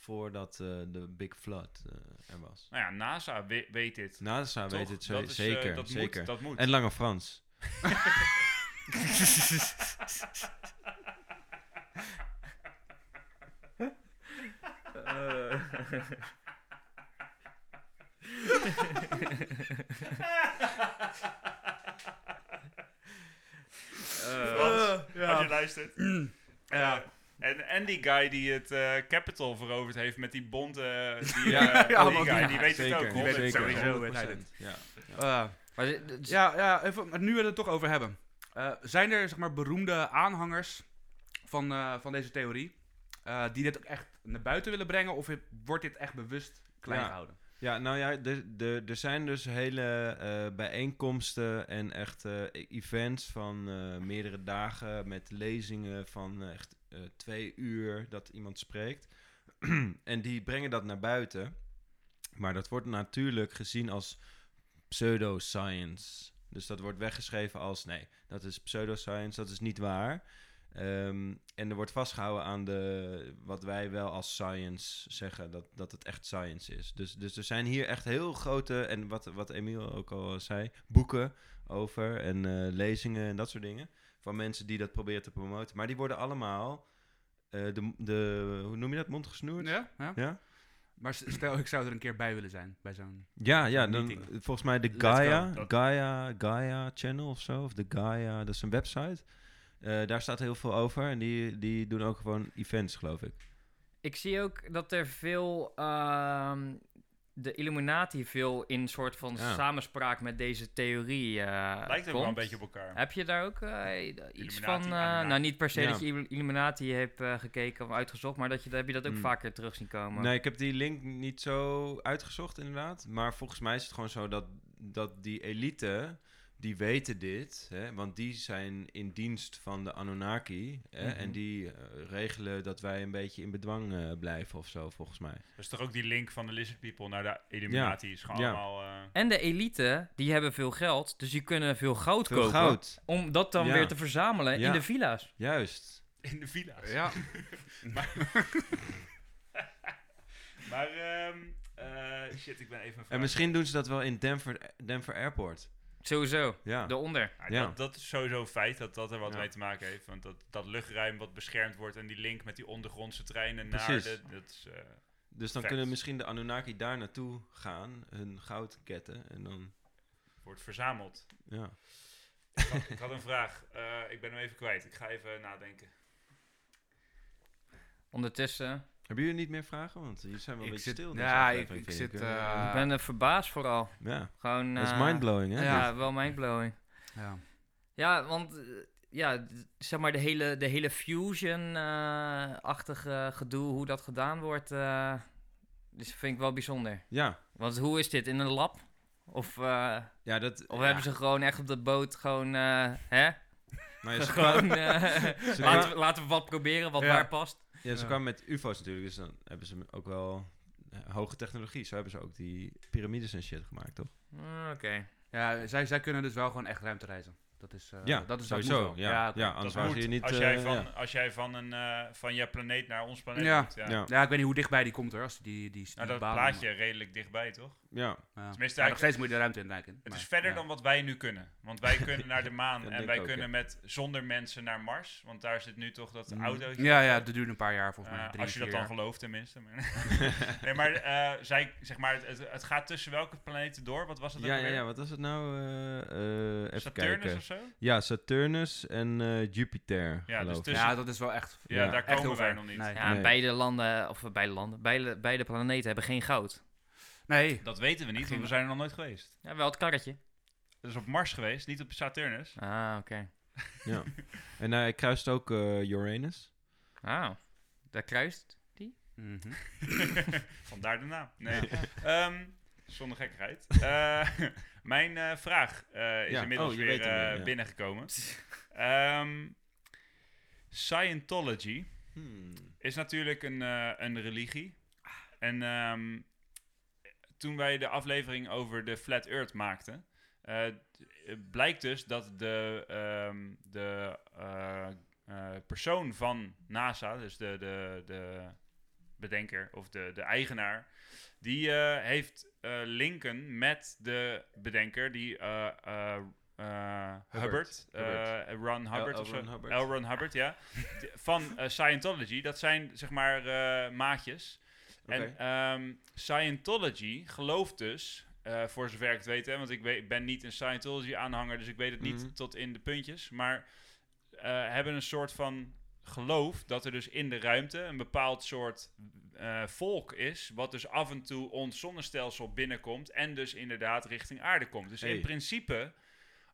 Speaker 4: voordat eh, de Big Flood eh, er was.
Speaker 3: Nou ja, NASA we- weet dit.
Speaker 4: NASA
Speaker 3: Toch?
Speaker 4: weet het ze-
Speaker 3: Dat is, eh,
Speaker 4: zeker.
Speaker 3: dat
Speaker 4: zeker.
Speaker 3: Moet, dat moet. *laughs*
Speaker 4: En Lange Frans.
Speaker 2: Eh,
Speaker 3: Frans,
Speaker 2: ja.
Speaker 3: als je luistert. ja. En, en die guy die het eh Capital veroverd heeft met die bonte... Die,
Speaker 4: Ja,
Speaker 3: eh,
Speaker 2: ja,
Speaker 3: die
Speaker 2: want-
Speaker 3: guy,
Speaker 2: ja,
Speaker 3: die weet het ook.
Speaker 2: Die weet het
Speaker 3: 100%.
Speaker 2: sowieso.
Speaker 4: Ja.
Speaker 2: Eh,
Speaker 5: Maar, ze- d- s-
Speaker 2: ja, ja even, maar nu we het er toch over hebben. Eh, zijn er zeg maar, beroemde aanhangers van, eh, van deze theorie eh, die dit ook echt naar buiten willen brengen? Of wordt dit echt bewust klein
Speaker 4: Ja.
Speaker 2: gehouden?
Speaker 4: Ja, nou ja, de- de- er zijn dus hele eh, bijeenkomsten en echt eh, events van eh, meerdere dagen met lezingen van eh, echt eh, twee uur dat iemand spreekt. en die brengen dat naar buiten. Maar dat wordt natuurlijk gezien als pseudoscience. Dus dat wordt weggeschreven als nee, dat is pseudoscience, dat is niet waar. Ehm, en er wordt vastgehouden aan de, wat wij wel als science zeggen, dat, dat het echt science is. Dus, dus er zijn hier echt heel grote, en wat, wat Emiel ook al zei, boeken over en eh, lezingen en dat soort dingen. Van mensen die dat proberen te promoten. Maar die worden allemaal, eh, de, de, hoe noem je dat, mondgesnoerd?
Speaker 2: Ja, ja.
Speaker 4: Ja?
Speaker 2: Maar s- stel, ik zou er een keer bij willen zijn. Bij zo'n...
Speaker 3: *laughs*
Speaker 4: Ja, ja,
Speaker 2: Zo'n
Speaker 4: dan,
Speaker 2: meeting.
Speaker 4: volgens mij de
Speaker 3: Let's go.
Speaker 4: Gaia,
Speaker 3: Dat-
Speaker 4: Gaia, Gaia Channel of zo, of de Gaia, dat is een website. Eh, daar staat heel veel over en die, die doen ook gewoon events, geloof ik.
Speaker 1: Ik zie ook dat er veel. ehm, de Illuminati veel in soort van
Speaker 4: Ja.
Speaker 1: samenspraak met deze theorie. eh
Speaker 3: Lijkt ook
Speaker 1: komt.
Speaker 3: wel een beetje op elkaar.
Speaker 1: Heb je daar ook eh, iets van... eh,
Speaker 3: Illuminati.
Speaker 1: nou, niet per se
Speaker 4: Ja.
Speaker 1: dat je Ill- Illuminati hebt eh, gekeken of uitgezocht, maar dat je, heb je dat ook
Speaker 4: Hmm.
Speaker 1: vaker terug zien komen.
Speaker 4: Nee, ik heb die link niet zo uitgezocht, inderdaad. Maar volgens mij is het gewoon zo dat, dat die elite, die weten dit. Hè, want die zijn in dienst van de Anunnaki. Hè,
Speaker 1: Mhm.
Speaker 4: En die eh, regelen dat wij een beetje in bedwang eh, blijven of zo, volgens mij.
Speaker 3: Dus toch ook die link van de Lizard People naar de Illuminati is gewoon
Speaker 4: Ja.
Speaker 3: allemaal... eh,
Speaker 1: En de elite, die hebben veel geld, dus die kunnen veel goud
Speaker 4: Veel
Speaker 1: kopen.
Speaker 4: goud,
Speaker 1: Om dat dan
Speaker 4: Ja.
Speaker 1: weer te verzamelen
Speaker 4: Ja.
Speaker 1: in de villa's.
Speaker 4: juist.
Speaker 3: in de villa's.
Speaker 2: Ja.
Speaker 3: Maar, ehm, eh, shit, ik ben even...
Speaker 4: En misschien doen ze dat wel in Denver, Denver Airport.
Speaker 1: Sowieso,
Speaker 4: Ja.
Speaker 1: daaronder.
Speaker 3: Ja,
Speaker 4: Ja.
Speaker 3: Dat, dat is sowieso een feit dat dat er wat
Speaker 4: Ja.
Speaker 3: mee te maken heeft. Want dat, dat luchtruim wat beschermd wordt en die link met die ondergrondse treinen naar
Speaker 4: Precies.
Speaker 3: de. Dat is, eh,
Speaker 4: Dus dan
Speaker 3: Vet.
Speaker 4: kunnen misschien de Anunnaki daar naartoe gaan, hun goud ketten. En dan,
Speaker 3: wordt verzameld.
Speaker 4: ja.
Speaker 3: Ik had, ik had een vraag. Eh, ik ben hem even kwijt. Ik ga even nadenken.
Speaker 1: Ondertussen.
Speaker 4: Hebben jullie niet meer vragen? Want jullie zijn wel een
Speaker 2: Ik
Speaker 4: beetje
Speaker 2: zit,
Speaker 4: stil. dus deze
Speaker 2: ja, ik,
Speaker 4: aflevering,
Speaker 2: ik
Speaker 4: vind
Speaker 2: zit...
Speaker 4: hè?
Speaker 1: ik
Speaker 2: eh,
Speaker 1: ben eh, verbaasd vooral.
Speaker 4: Ja,
Speaker 1: Gewoon,
Speaker 4: dat is
Speaker 1: eh,
Speaker 4: mindblowing,
Speaker 1: Ja,
Speaker 4: hè? Dus- dit?
Speaker 1: wel mindblowing.
Speaker 2: ja.
Speaker 1: Ja, want eh, ja, d- zeg maar de hele, de hele fusion-achtige gedoe, hoe dat gedaan wordt, eh dus vind ik wel bijzonder.
Speaker 4: Ja,
Speaker 1: Want hoe is dit? In een lab? Of, eh,
Speaker 4: ja dat...
Speaker 1: of
Speaker 4: ja.
Speaker 1: hebben ze gewoon echt op de boot gewoon, eh, hè?
Speaker 4: Maar ja, ze kwamen,
Speaker 1: *laughs* gewoon eh, *laughs*
Speaker 4: ze
Speaker 1: laten,
Speaker 4: kwamen-
Speaker 1: we, laten we wat proberen wat
Speaker 2: Ja.
Speaker 1: waar past.
Speaker 4: ja, ze
Speaker 2: Ja.
Speaker 4: kwamen met ufo's natuurlijk, dus dan hebben ze ook wel eh, hoge technologie. Zo hebben ze ook die piramides en shit gemaakt, toch?
Speaker 1: Mm, Oké.
Speaker 2: ja zij, zij kunnen dus wel gewoon echt ruimte reizen. Dat is, eh,
Speaker 4: ja,
Speaker 2: dat is dat
Speaker 4: sowieso.
Speaker 2: moet wel.
Speaker 4: Ja, ja,
Speaker 2: dat-
Speaker 4: anders
Speaker 3: dat
Speaker 4: waren
Speaker 3: moet,
Speaker 4: ze hier niet...
Speaker 3: als jij,
Speaker 4: eh,
Speaker 3: van,
Speaker 4: ja.
Speaker 3: als jij van, een, eh, van je planeet naar ons planeet
Speaker 2: Ja.
Speaker 3: moet. Ja.
Speaker 4: Ja,
Speaker 2: Ja, ik weet niet hoe dichtbij die komt hoor. Als die, die, die,
Speaker 3: Nou,
Speaker 2: die
Speaker 3: dat
Speaker 2: baan-
Speaker 3: plaatje redelijk dichtbij, toch?
Speaker 4: ja.
Speaker 2: Ja.
Speaker 3: Tenminste,
Speaker 2: Ja,
Speaker 3: eigenlijk-
Speaker 2: nog steeds moet je de ruimte in duiken.
Speaker 3: Het
Speaker 2: maar-
Speaker 3: is verder
Speaker 2: ja.
Speaker 3: dan wat wij nu kunnen. Want wij kunnen naar de maan
Speaker 4: *laughs* Dat
Speaker 3: en
Speaker 4: denk
Speaker 3: wij
Speaker 4: ik ook,
Speaker 3: kunnen
Speaker 4: ja.
Speaker 3: met zonder mensen naar Mars. Want daar zit nu toch dat
Speaker 4: Mm.
Speaker 3: autootje.
Speaker 2: Ja, ja, dat duurt een paar jaar volgens mij.
Speaker 3: Eh,
Speaker 2: Drie,
Speaker 3: als je dat
Speaker 2: vier
Speaker 3: dan
Speaker 2: jaar.
Speaker 3: gelooft
Speaker 2: *laughs*
Speaker 3: tenminste. Maar- nee, maar, *laughs* eh, zij, zeg maar het, het, het gaat tussen welke planeten door? Wat was het ook
Speaker 4: Ja, ja,
Speaker 3: alweer?
Speaker 4: ja, wat was het nou? Eh, eh, even
Speaker 3: Saturnus
Speaker 4: kijken.
Speaker 3: of zo?
Speaker 4: Ja, Saturnus en eh, Jupiter,
Speaker 3: Ja, dus
Speaker 4: geloof ik.
Speaker 3: tussen-
Speaker 2: Ja, dat is wel echt.
Speaker 3: Ja,
Speaker 4: Ja.
Speaker 3: daar
Speaker 2: echt
Speaker 3: komen
Speaker 2: heel
Speaker 3: wij
Speaker 2: ver.
Speaker 3: nog niet.
Speaker 2: Nee.
Speaker 1: Ja,
Speaker 4: Nee.
Speaker 1: beide landen, of eh, beide landen, beide, beide planeten hebben geen goud.
Speaker 2: Nee.
Speaker 3: Dat weten we niet, want we zijn er nog nooit geweest.
Speaker 1: Ja, wel het karretje.
Speaker 3: Dat is op Mars geweest, niet op
Speaker 4: *laughs*
Speaker 3: Saturnus.
Speaker 1: Ah, oké.
Speaker 4: En hij kruist ook eh, Uranus.
Speaker 1: Ah, daar kruist.
Speaker 2: Mhm.
Speaker 3: Vandaar de naam. Nee. Ehm, zonder
Speaker 4: *laughs*
Speaker 3: gekkigheid. Eh, *laughs* mijn eh, vraag eh, is
Speaker 4: Ja,
Speaker 3: inmiddels
Speaker 4: oh, je
Speaker 3: weer
Speaker 4: weet hem weer,
Speaker 3: eh,
Speaker 4: ja. *laughs*
Speaker 3: binnengekomen. Ehm, Scientology
Speaker 4: Hmm.
Speaker 3: is natuurlijk een, eh, een religie. En ehm, toen wij de aflevering over de Flat Earth maakten, eh, d- eh, blijkt dus dat de, ehm, de eh, eh, persoon van NASA, dus de, de, de bedenker of de, de eigenaar, die eh, heeft eh, linken met de bedenker die eh, eh, eh, Hubbard,
Speaker 4: Hubbard.
Speaker 3: eh, Ron Hubbard
Speaker 4: L.
Speaker 3: of zo.
Speaker 4: Ron Hubbard.
Speaker 3: L. Ron Hubbard, ja. Die- Van eh, Scientology. Dat zijn zeg maar eh, maatjes.
Speaker 4: Oké.
Speaker 3: En ehm, Scientology gelooft dus, eh, voor zover ik het weet, hè, want ik weet- ben niet een Scientology-aanhanger, dus ik weet het niet
Speaker 4: Mhm.
Speaker 3: tot in de puntjes, maar eh, hebben een soort van geloof dat er dus in de ruimte een bepaald soort eh, volk is, wat dus af en toe ons zonnestelsel binnenkomt en dus inderdaad richting aarde komt. Dus in
Speaker 4: Hey.
Speaker 3: principe,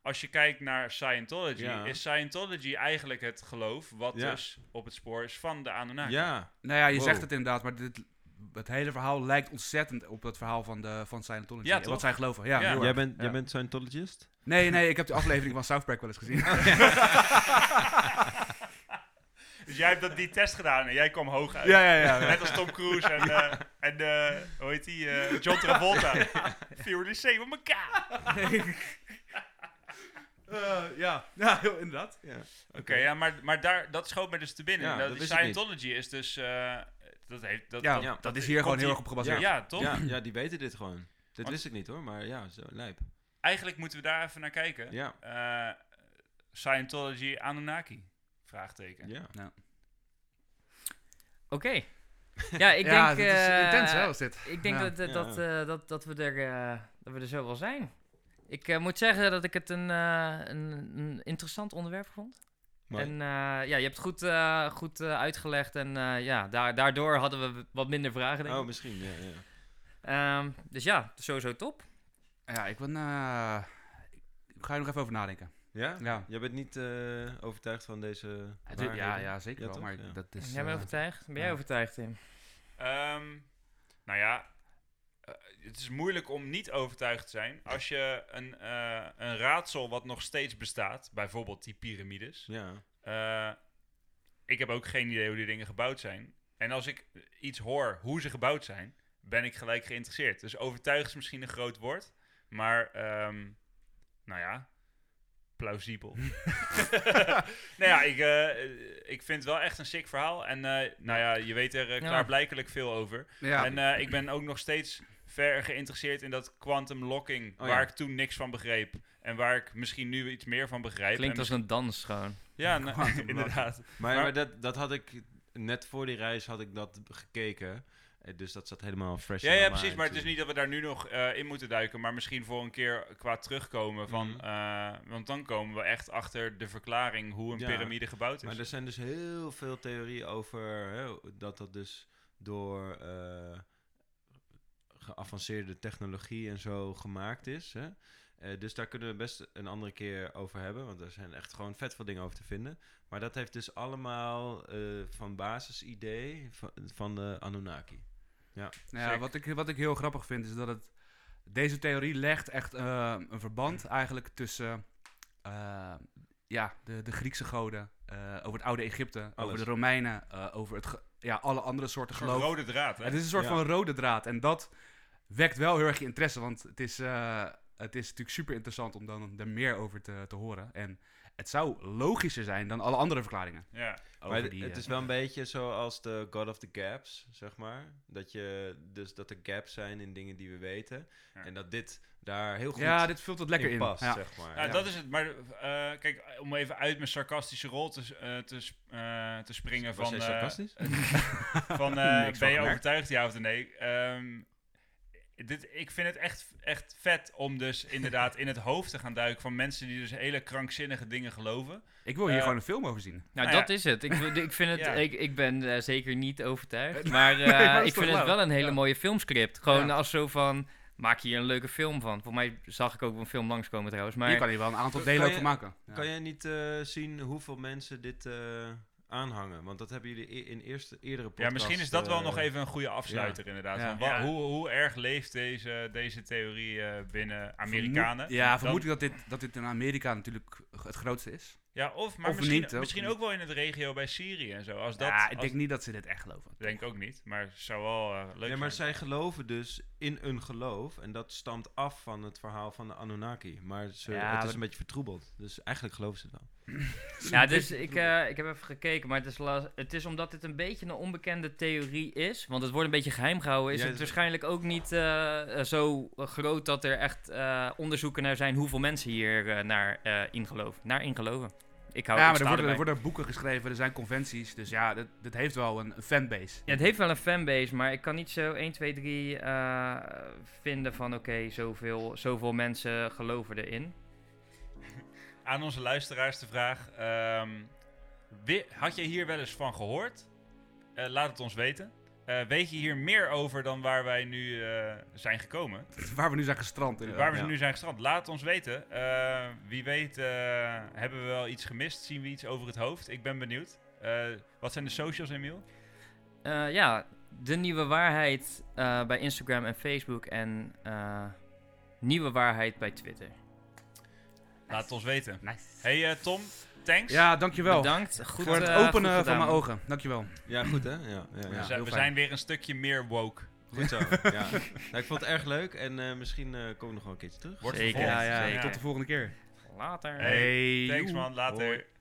Speaker 3: als je kijkt naar Scientology,
Speaker 4: Ja.
Speaker 3: is Scientology eigenlijk het geloof wat
Speaker 4: Ja.
Speaker 3: dus op het spoor is van de Anunnaki.
Speaker 4: Ja,
Speaker 2: Nou ja, je
Speaker 4: Wow.
Speaker 2: zegt het inderdaad, maar dit, het hele verhaal lijkt ontzettend op dat verhaal van, de, van Scientology.
Speaker 3: Ja,
Speaker 2: En
Speaker 3: toch?
Speaker 2: Wat zij geloven. Ja,
Speaker 3: Ja.
Speaker 2: heel
Speaker 4: jij
Speaker 2: erg.
Speaker 4: bent,
Speaker 2: Ja.
Speaker 4: jij bent Scientologist?
Speaker 2: Nee, nee, ik heb die aflevering van South Park wel eens
Speaker 3: *laughs*
Speaker 2: gezien.
Speaker 3: Dus jij hebt dat, die test gedaan en jij kwam hoog uit.
Speaker 2: ja, ja, ja.
Speaker 3: Net als Tom Cruise en, eh, en eh, hoe heet die? eh, John Travolta. Fury the same op elkaar.
Speaker 2: Eh, ja. ja, heel inderdaad.
Speaker 4: Ja.
Speaker 3: Oké, ja, maar, maar daar, dat schoot me dus te binnen.
Speaker 4: Ja,
Speaker 3: dat
Speaker 4: dat
Speaker 3: die
Speaker 4: is het niet.
Speaker 3: Scientology is dus... eh, dat heeft, dat,
Speaker 2: Ja,
Speaker 3: dat,
Speaker 4: ja.
Speaker 2: dat is hier gewoon
Speaker 3: komt
Speaker 2: heel
Speaker 3: hier-
Speaker 2: erg op
Speaker 3: ja.
Speaker 2: gebaseerd.
Speaker 3: toch?
Speaker 4: Ja, ja, die weten dit gewoon. Dit
Speaker 3: Want-
Speaker 4: wist ik niet hoor, maar ja, zo lijp.
Speaker 3: Eigenlijk moeten we daar even naar kijken.
Speaker 4: Ja,
Speaker 3: Eh, Scientology Anunnaki? Vraagteken.
Speaker 4: ja.
Speaker 1: Oké. *laughs* Ja, ik
Speaker 2: Ja,
Speaker 1: denk...
Speaker 2: dat is
Speaker 1: eh,
Speaker 2: intens, hè, als dit.
Speaker 1: Ik denk
Speaker 2: Ja.
Speaker 1: dat, dat,
Speaker 4: Ja.
Speaker 1: dat, eh, dat, dat, we er, eh, dat we er zo wel zijn. Ik eh, moet zeggen dat ik het een, eh, een, een interessant onderwerp vond.
Speaker 4: Mooi.
Speaker 1: En eh, ja, je hebt het goed, eh, goed eh, uitgelegd. En eh, ja, daar, daardoor hadden we wat minder vragen, denk ik.
Speaker 4: Oh, misschien, ja, ja.
Speaker 1: Ehm, dus ja, sowieso top.
Speaker 2: Ja, ik ben... eh, ik ga er nog even over nadenken.
Speaker 4: Ja?
Speaker 2: Ja,
Speaker 4: Jij bent niet eh, overtuigd van deze
Speaker 2: Het- ja,
Speaker 4: waarheden?
Speaker 2: ja zeker
Speaker 4: Ja,
Speaker 2: wel,
Speaker 4: toch?
Speaker 2: maar
Speaker 4: Ja.
Speaker 2: dat is...
Speaker 1: jij bent
Speaker 2: eh,
Speaker 1: overtuigd? Ben jij
Speaker 2: ja.
Speaker 1: overtuigd, Tim?
Speaker 3: Ehm, nou ja, eh, het is moeilijk om niet overtuigd te zijn als je een, eh, een raadsel wat nog steeds bestaat, bijvoorbeeld die piramides.
Speaker 4: Ja.
Speaker 3: eh, ik heb ook geen idee hoe die dingen gebouwd zijn. En als ik iets hoor hoe ze gebouwd zijn, ben ik gelijk geïnteresseerd. Dus overtuigd is misschien een groot woord, maar ehm, nou ja,
Speaker 4: *laughs*
Speaker 3: plausibel. *laughs* nou ja, ik, eh, ik vind het wel echt een sick verhaal. En eh, nou ja, je weet er eh,
Speaker 1: Ja.
Speaker 3: klaarblijkelijk veel over.
Speaker 2: Ja,
Speaker 3: En eh, ik ben ook nog steeds ver geïnteresseerd in dat quantum locking,
Speaker 4: Oh,
Speaker 3: waar
Speaker 4: ja.
Speaker 3: ik toen niks van begreep. En waar ik misschien nu iets meer van begrijp.
Speaker 1: Klinkt
Speaker 3: En
Speaker 1: als een dans gewoon.
Speaker 3: misschien- Ja, nou,
Speaker 2: Quantum locking.
Speaker 3: *laughs* inderdaad.
Speaker 4: Maar,
Speaker 3: Maar-
Speaker 4: maar dat, dat had ik net voor die reis had ik dat gekeken. Eh, Dus dat zat helemaal fresh.
Speaker 3: Ja,
Speaker 4: in
Speaker 3: ja,
Speaker 4: mijn
Speaker 3: precies.
Speaker 4: mind
Speaker 3: Maar het is
Speaker 4: toen.
Speaker 3: niet dat we daar nu nog eh, in moeten duiken. Maar misschien voor een keer qua terugkomen van...
Speaker 4: Mhm.
Speaker 3: eh, want dan komen we echt achter de verklaring hoe een
Speaker 4: Ja,
Speaker 3: piramide gebouwd is.
Speaker 4: Maar er zijn dus heel veel theorieën over hè, dat dat dus door eh, geavanceerde technologie en zo gemaakt is. Hè? Eh, dus daar kunnen we best een andere keer over hebben, want er zijn echt gewoon vet veel dingen over te vinden. Maar dat heeft dus allemaal eh, van basisidee van, van de Anunnaki.
Speaker 2: Nou ja,
Speaker 3: Zeker.
Speaker 2: wat, ik, wat ik heel grappig vind is dat het. Deze theorie legt echt eh, een verband eigenlijk tussen. eh, ja, de, de Griekse goden. eh, over het oude Egypte. Over
Speaker 4: Alles.
Speaker 2: de Romeinen. eh, over het ge- ja, alle andere soorten
Speaker 3: Een soort
Speaker 2: geloof.
Speaker 3: rode draad, hè?
Speaker 2: Het is een soort
Speaker 4: Ja.
Speaker 2: van rode draad. En dat wekt wel heel erg je interesse. Want het is. eh, het is natuurlijk super interessant om dan er meer over te, te horen. En het zou logischer zijn dan alle andere verklaringen.
Speaker 3: Ja.
Speaker 2: Over
Speaker 4: Maar d-
Speaker 2: die,
Speaker 4: het
Speaker 2: eh,
Speaker 4: is wel een beetje zoals de God of the Gaps, zeg maar. Dat, je, dus dat er gaps zijn in dingen die we weten.
Speaker 3: Ja.
Speaker 4: En dat dit daar heel goed
Speaker 2: ja, dit vult wat lekker in.
Speaker 4: past,
Speaker 2: ja.
Speaker 4: zeg maar.
Speaker 3: Nou,
Speaker 4: Ja.
Speaker 3: dat is het. Maar eh, kijk, om even uit mijn sarcastische rol te, s- eh, te, sp- eh, te springen
Speaker 4: Was
Speaker 3: van...
Speaker 4: jij
Speaker 3: eh,
Speaker 4: sarcastisch?
Speaker 3: *laughs*
Speaker 4: *laughs*
Speaker 3: van eh, ben
Speaker 2: Niks
Speaker 3: je
Speaker 2: van gemerkt.
Speaker 3: overtuigd, ja of nee? Ehm, dit, ik vind het echt, echt vet om dus inderdaad in het hoofd te gaan duiken van mensen die dus hele krankzinnige dingen geloven.
Speaker 2: Ik wil hier
Speaker 3: Eh,
Speaker 2: gewoon een film over zien.
Speaker 1: Nou,
Speaker 3: Nou
Speaker 1: dat is het. Ik, wil- ik, vind het
Speaker 3: Ja.
Speaker 1: ik, ik ben eh, zeker niet overtuigd. Maar eh,
Speaker 2: maar dat is
Speaker 1: ik
Speaker 2: toch
Speaker 1: vind het
Speaker 2: leuk?
Speaker 1: wel een hele
Speaker 2: Ja.
Speaker 1: mooie filmscript. Gewoon
Speaker 2: Ja.
Speaker 1: als zo van. Maak hier een leuke film van. Volgens mij zag ik ook een film langskomen trouwens. Maar
Speaker 2: Hier kan je wel een aantal
Speaker 4: Kan- kan
Speaker 2: delen over
Speaker 4: je-
Speaker 2: maken. Ja.
Speaker 4: Kan jij niet eh, zien hoeveel mensen dit eh, aanhangen? Want dat hebben jullie e- in eerste, eerdere
Speaker 3: Ja,
Speaker 4: podcast...
Speaker 3: misschien is dat wel
Speaker 4: eh,
Speaker 3: nog even een goede afsluiter inderdaad.
Speaker 2: Ja.
Speaker 3: Van wa-
Speaker 1: Ja.
Speaker 3: Hoe, hoe erg leeft deze, deze theorie eh, binnen Amerikanen?
Speaker 2: Vermoed- ja,
Speaker 3: Dan-
Speaker 2: vermoed ik dat dit, dat dit in Amerika natuurlijk g- het grootste is.
Speaker 3: ja, of maar
Speaker 2: of
Speaker 3: misschien,
Speaker 2: niet, ook
Speaker 3: misschien
Speaker 2: niet.
Speaker 3: ook wel in het regio bij Syrië en zo. Als dat,
Speaker 2: ja, ik
Speaker 3: als-
Speaker 2: denk niet dat ze dit echt geloven.
Speaker 3: denk ook niet, maar het zou wel eh, leuk
Speaker 4: Ja, maar
Speaker 3: zijn.
Speaker 4: zij geloven dus in een geloof. En dat stamt af van het verhaal van de Anunnaki. Maar ze,
Speaker 2: Ja,
Speaker 4: het is
Speaker 2: maar-
Speaker 4: een beetje vertroebeld. Dus eigenlijk geloven ze het wel.
Speaker 2: *laughs*
Speaker 1: Ja, dus ik, eh, ik heb even gekeken, maar het is, la- het is omdat dit een beetje een onbekende theorie is, want het wordt een beetje geheim gehouden, is
Speaker 4: Ja,
Speaker 1: het
Speaker 4: d-
Speaker 1: waarschijnlijk ook niet eh, eh, zo groot dat er echt eh, onderzoeken naar zijn hoeveel mensen hier eh, naar eh ingeloven. Naar ingeloven. Ik
Speaker 4: Nou,
Speaker 1: hou
Speaker 2: Ja,
Speaker 1: ik
Speaker 2: maar
Speaker 1: sta
Speaker 2: er worden, er
Speaker 1: erbij.
Speaker 2: worden boeken geschreven, er zijn conventies. Dus ja, dit, dit heeft wel een, een fanbase. *laughs*
Speaker 1: Ja, het heeft wel een fanbase, maar ik kan niet zo 1, 2, 3 eh, vinden van oké, zoveel, zoveel mensen geloven erin.
Speaker 3: Aan onze luisteraars de vraag: ehm, wi- had je hier wel eens van gehoord? Eh, laat het ons weten. Eh, weet je hier meer over dan waar wij nu eh, zijn gekomen?
Speaker 2: Waar we nu zijn gestrand.
Speaker 3: waar
Speaker 2: inderdaad.
Speaker 3: we
Speaker 4: ja.
Speaker 3: nu zijn gestrand? Laat het ons weten. Eh, wie weet, eh, hebben we wel iets gemist? Zien we iets over het hoofd? Ik ben benieuwd. Eh, wat zijn de socials, Emiel?
Speaker 1: Eh, ja, de nieuwe waarheid eh, bij Instagram en Facebook en eh, nieuwe waarheid bij Twitter.
Speaker 3: Laat het ons weten.
Speaker 2: Nice.
Speaker 3: Hey eh, Tom, thanks.
Speaker 2: Ja, dankjewel.
Speaker 1: Bedankt. Goed,
Speaker 2: voor het
Speaker 1: eh, goed
Speaker 2: openen van
Speaker 1: gedaan.
Speaker 2: mijn ogen. Dankjewel.
Speaker 4: Ja, goed hè? Ja, ja,
Speaker 3: we
Speaker 4: ja.
Speaker 3: zijn,
Speaker 2: heel
Speaker 3: we
Speaker 2: fijn.
Speaker 3: zijn weer een stukje meer woke.
Speaker 4: Goed zo. ja. Nou, ik vond het erg leuk. En eh, misschien eh komen we nog wel een keertje terug.
Speaker 3: Wordt
Speaker 1: Zeker,
Speaker 3: vervolgd.
Speaker 1: ja, ja.
Speaker 3: Zeker.
Speaker 2: Tot de volgende keer.
Speaker 1: Later.
Speaker 3: Hey,
Speaker 2: Hey,
Speaker 3: Thanks
Speaker 2: joe.
Speaker 3: man, later.
Speaker 4: Hoi.